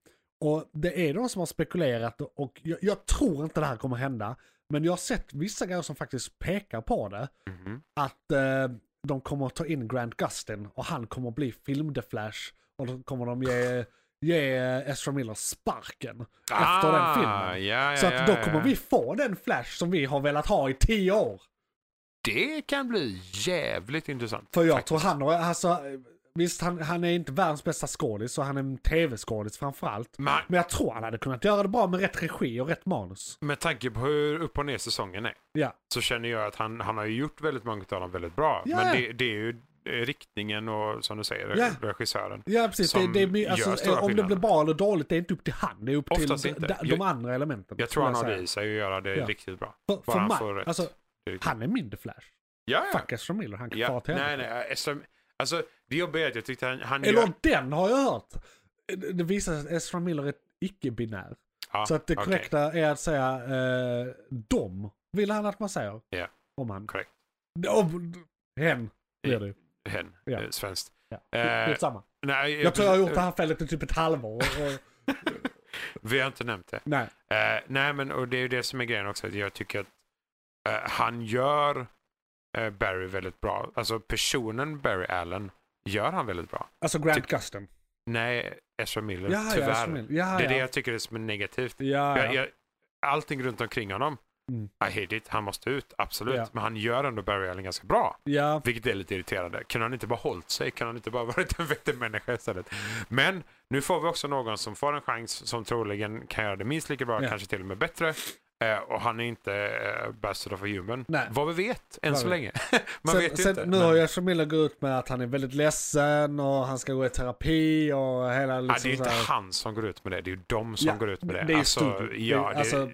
Och det är de som har spekulerat och jag, jag tror inte det här kommer hända. Men jag har sett vissa grejer som faktiskt pekar på det.
Mhm.
Att eh, de kommer att ta in Grant Gustin och han kommer att bli film The Flash. Och då kommer de ge, ge eh, Ezra Miller sparken efter den filmen.
Ja, ja,
Så att då
Ah, ja, ja.
kommer vi få den Flash som vi har velat ha i tio år.
Det kan bli jävligt intressant.
För jag
faktiskt.
tror han har, alltså, visst han, han är inte världens bästa skådis och han är en tv-skådis framförallt.
Men
Men jag tror han hade kunnat göra det bra med rätt regi och rätt manus.
med tanke på hur upp och ner säsongen är
Ja,
så känner jag att han, han har ju gjort väldigt många av dem väldigt bra.
Ja,
Men
ja.
det, det är ju eh, riktningen och som du säger,
Ja.
regissören.
ja precis. Det,
Som
det är, my-
gör
alltså,
stora
eh, om det
skillnader.
blir bra eller dåligt det är inte upp till han. Det är upp
Oftast
till
inte.
de, de
Jag-
andra elementen.
Jag tror
skulle
han har
säga.
det i sig att göra det
Ja.
riktigt bra.
För,
Bara
för
han
man,
får rätt.
alltså,
Det är riktigt-
han är mindre Flash.
ja, ja.
Fuck Ezra Miller, han kan
ja.
fara till
Nej,
helvete.
nej. eh, SM, alltså, det jobbiga är att jag tyckte han... han
Eller
gör,
den har jag hört. Det det visar sig att Ezra Miller är icke-binär.
ja,
så att det
okej.
korrekta är att säga eh, dom. Vill han att man säger.
Ja.
Om han.
Korrekt.
Om, hen blir det ju.
Hen,
Ja.
eh, svenskt.
ja.
Eh,
Skitsamma.
Nej, eh,
Jag tror jag har gjort det här felet i typ ett halvår. Och, och,
Vi har inte nämnt det.
nej.
Eh, nej, men och det är ju det som är grejen också. att Jag tycker att eh, han gör eh, Barry väldigt bra. Alltså personen Barry Allen gör han väldigt bra.
Alltså Grant Gustin.
Nej, Ezra Miller,
Ja,
tyvärr.
ja, Ashton Miller. ja,
Det är det
ja.
jag tycker är som är negativt.
ja, ja.
Jag, jag, allting runt omkring honom,
Mm.
I hate it, han måste ut, absolut.
Ja.
Men han gör ändå Barry Allen ganska bra.
ja.
Vilket är lite irriterande. Kunde han inte bara hållit sig? Kunde han inte bara varit en vettig människa istället? Men nu får vi också någon som får en chans som troligen kan göra det minst lika bra,
Ja.
kanske till och med bättre. Eh, och han är inte eh, Bastard of a Human.
Nej.
Vad vi vet, än
Vad
så
vi-
länge. Man
sen,
vet ju
sen,
inte.
Nu
men-
har Ezra Miller gått ut med att han är väldigt ledsen och han ska gå i terapi och hela
Ja, det är
liksom
ju
så
inte
här-
han som går ut med det, det är ju de som
Ja,
går ut med det.
det är ju
alltså,
studion.
ja,
Det är-
det,
alltså,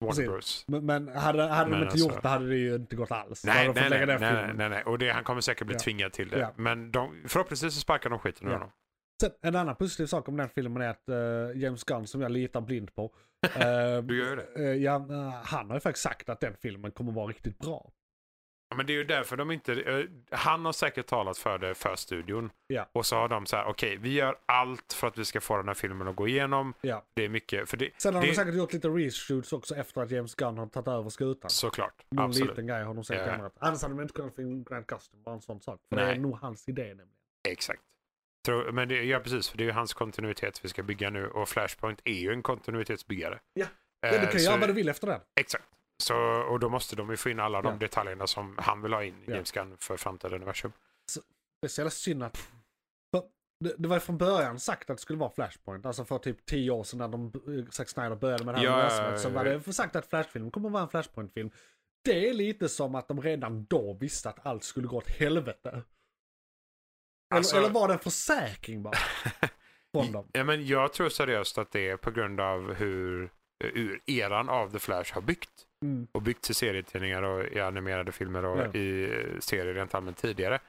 Warner
precis.
Bros.
Men, men hade, hade
Men
de inte
alltså-
gjort det hade det ju inte gått alls. Då
Nej
hade de
nej
fått
nej,
lägga
nej,
ner
nej,
filmen.
nej, nej, och det, han kommer säkert bli
Ja.
tvingad till det.
Ja.
Men de, förhoppningsvis så sparkar de skiten ur
Ja.
honom.
Sen, en annan positiv sak om den filmen är att eh, James Gunn, som jag litar blind på, eh,
Du gör ju det.
eh, ja, eh, han har ju faktiskt sagt att den filmen kommer vara riktigt bra.
Ja, Men det är ju därför de inte... eh, Han har säkert talat för det för studion.
Ja.
Och så har de så här, okej, vi gör allt för att vi ska få den här filmen att gå igenom.
Ja.
Det är mycket, för det...
Sen har
det
de säkert gjort lite reshoots också efter att James Gunn har tagit över skutan.
Såklart,
Någon
absolut.
liten grej har de säkert
Ja.
ändrat. Annars hade de inte kunnat få in Grand Custom, bara en sån sak. För det är
Nej.
nog hans idé nämligen.
Exakt. Tror- Men det, ja, precis, för det är ju hans kontinuitet vi ska bygga nu och Flashpoint är ju en kontinuitetsbyggare.
Ja.
Eh,
ja, du kan
så-
göra vad du vill efter den.
Exakt. Så, och då måste de ju få in alla de
Ja.
detaljerna som han vill ha in i
Ja.
James Gunn för framtida universum.
Det är så jävla synd att... För det, det var ju från början sagt att det skulle vara Flashpoint. Alltså för typ tio år sedan när de, eh, Zack Snyder började med det här
Ja,
universumet.
ja,
Så
ja,
var
ja.
det sagt att Flashfilm kommer att vara en Flashpoint-film. Det är lite som att de redan då visste att allt skulle gå åt helvete. Eller,
Alltså-
eller var det en försäkring bara? Från dem.
Ja, men jag tror seriöst att det är på grund av hur eh, ur eran av The Flash har byggt.
Mm.
Och byggt till serietidningar och i animerade filmer och
Ja.
i eh, serier rent allmänt tidigare.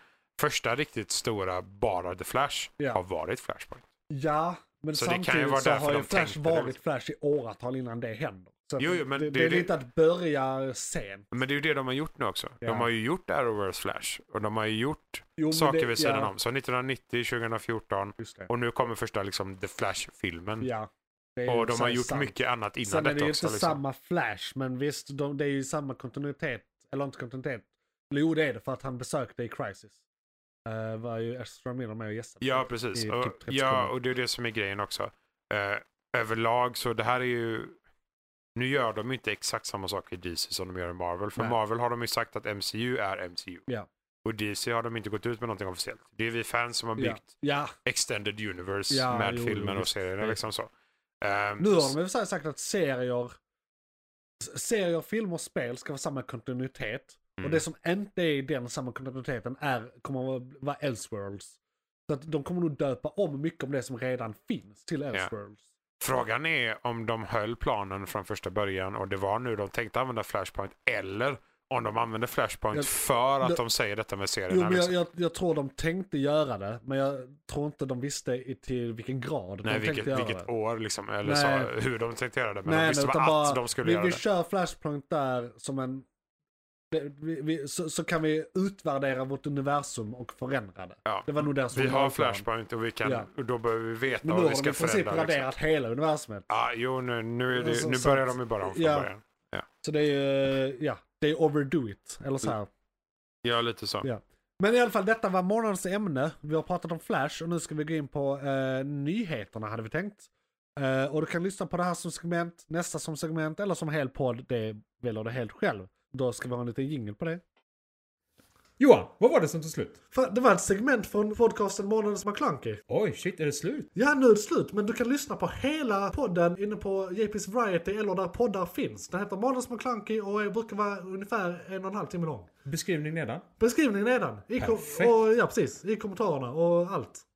Första riktigt stora bara The Flash
Ja.
har varit Flashpoint.
Ja, men
Så det kan ju
samtidigt
vara
så
därför
har ju
de
Flash
tänkte det,
varit
liksom.
Flash i åratal innan det händer. Så att
Jo, jo, men
det,
det
det,
är
är
det-
lite att börja sen.
Men det är ju det de har gjort nu också.
Ja.
De har ju gjort Arrowverse Flash och de har ju gjort
Jo, men
saker
det-
vid sidan
ja,
om. Så 1990, 2014
Just det.
och nu kommer första liksom, The Flash-filmen.
Ja. Det är ju
Och de
så
har
här
gjort
sant.
mycket annat innan
Sen är det
detta
ju
också.
inte
liksom.
samma Flash, men visst, de, det är ju samma kontinuitet. Eller inte kontinuitet. Eller jo, det är det för att han besökte i Crisis. Eh, var ju Ezra Miller med och gästade.
Ja, precis.
i
Och,
typ 30
ja,
sekunder.
och det är det som är grejen också. Eh, överlag så det här är ju... Nu gör de ju inte exakt samma sak i DC som de gör i Marvel. För
Nej.
Marvel har de ju sagt att MCU är MCU.
Ja.
Och Och DC har de inte gått ut med någonting officiellt. Det är vi fans som har
Ja.
byggt
ja.
Extended Universe
Ja,
med
jo,
filmer
jo,
och
visst.
serier.
Nej.
Liksom så. Ehm,
Nu har de i och för sig sagt att serier, s- serier, filmer och spel ska vara samma kontinuitet. Och
Mm.
det som inte är i den samma kontinuiteten är, kommer att vara Elseworlds. Så att de kommer nog döpa om mycket om det som redan finns till Elseworlds.
Frågan är om de höll planen från första början och det var nu de tänkte använda Flashpoint eller om de använde Flashpoint
Jag-
för att
jag-
de säger detta med serierna.
Jo, men jag,
liksom.
jag, jag tror de tänkte göra det, men jag tror inte de visste i, till vilken grad
Nej,
de
vilket,
tänkte göra
vilket
det.
år liksom, eller
Nej.
så, hur de tänkte göra det. Men
Nej,
de
nej,
visste
utan
bara
bara,
att de skulle
vi,
göra
vi
det.
kör Flashpoint där som en... det- Vi, vi, så, så kan vi utvärdera vårt universum och förändra det.
Ja.
Det var nog deras
Vi har
originalplan.
Flashpoint och vi kan,
Ja.
och då behöver vi veta
Men nu
vad vi
har de
ska
i princip
förändra. Liksom.
raderat hela universumet.
Ja, jo, nu, nu, är det,
Så-
nu
så
börjar
att-
de ju bara om från
ja.
början.
Så det är ju, ja, det är overdo it. Eller så här.
Ja, lite så.
Ja. Men i alla fall, detta var morgonens ämne. Vi har pratat om Flash och nu ska vi gå in på eh, nyheterna hade vi tänkt. Eh, och du kan lyssna på det här som segment, nästa som segment eller som hel podd. Det väljer du helt själv. Då ska vi ha en liten jingle på det.
Johan, vad var det som tog slut?
Fan, det var ett segment från podcasten Månadens McKlunky.
Oj, shit, är det slut?
Ja, nu är det slut, men du kan lyssna på hela podden inne på JP's Variety eller där poddar finns. Den heter Månadens McKlunky och brukar vara ungefär en och en halv timme lång.
Beskrivning nedan.
Beskrivningen nedan. I kom-
Perfekt.
och, ja, precis. I kommentarerna och allt.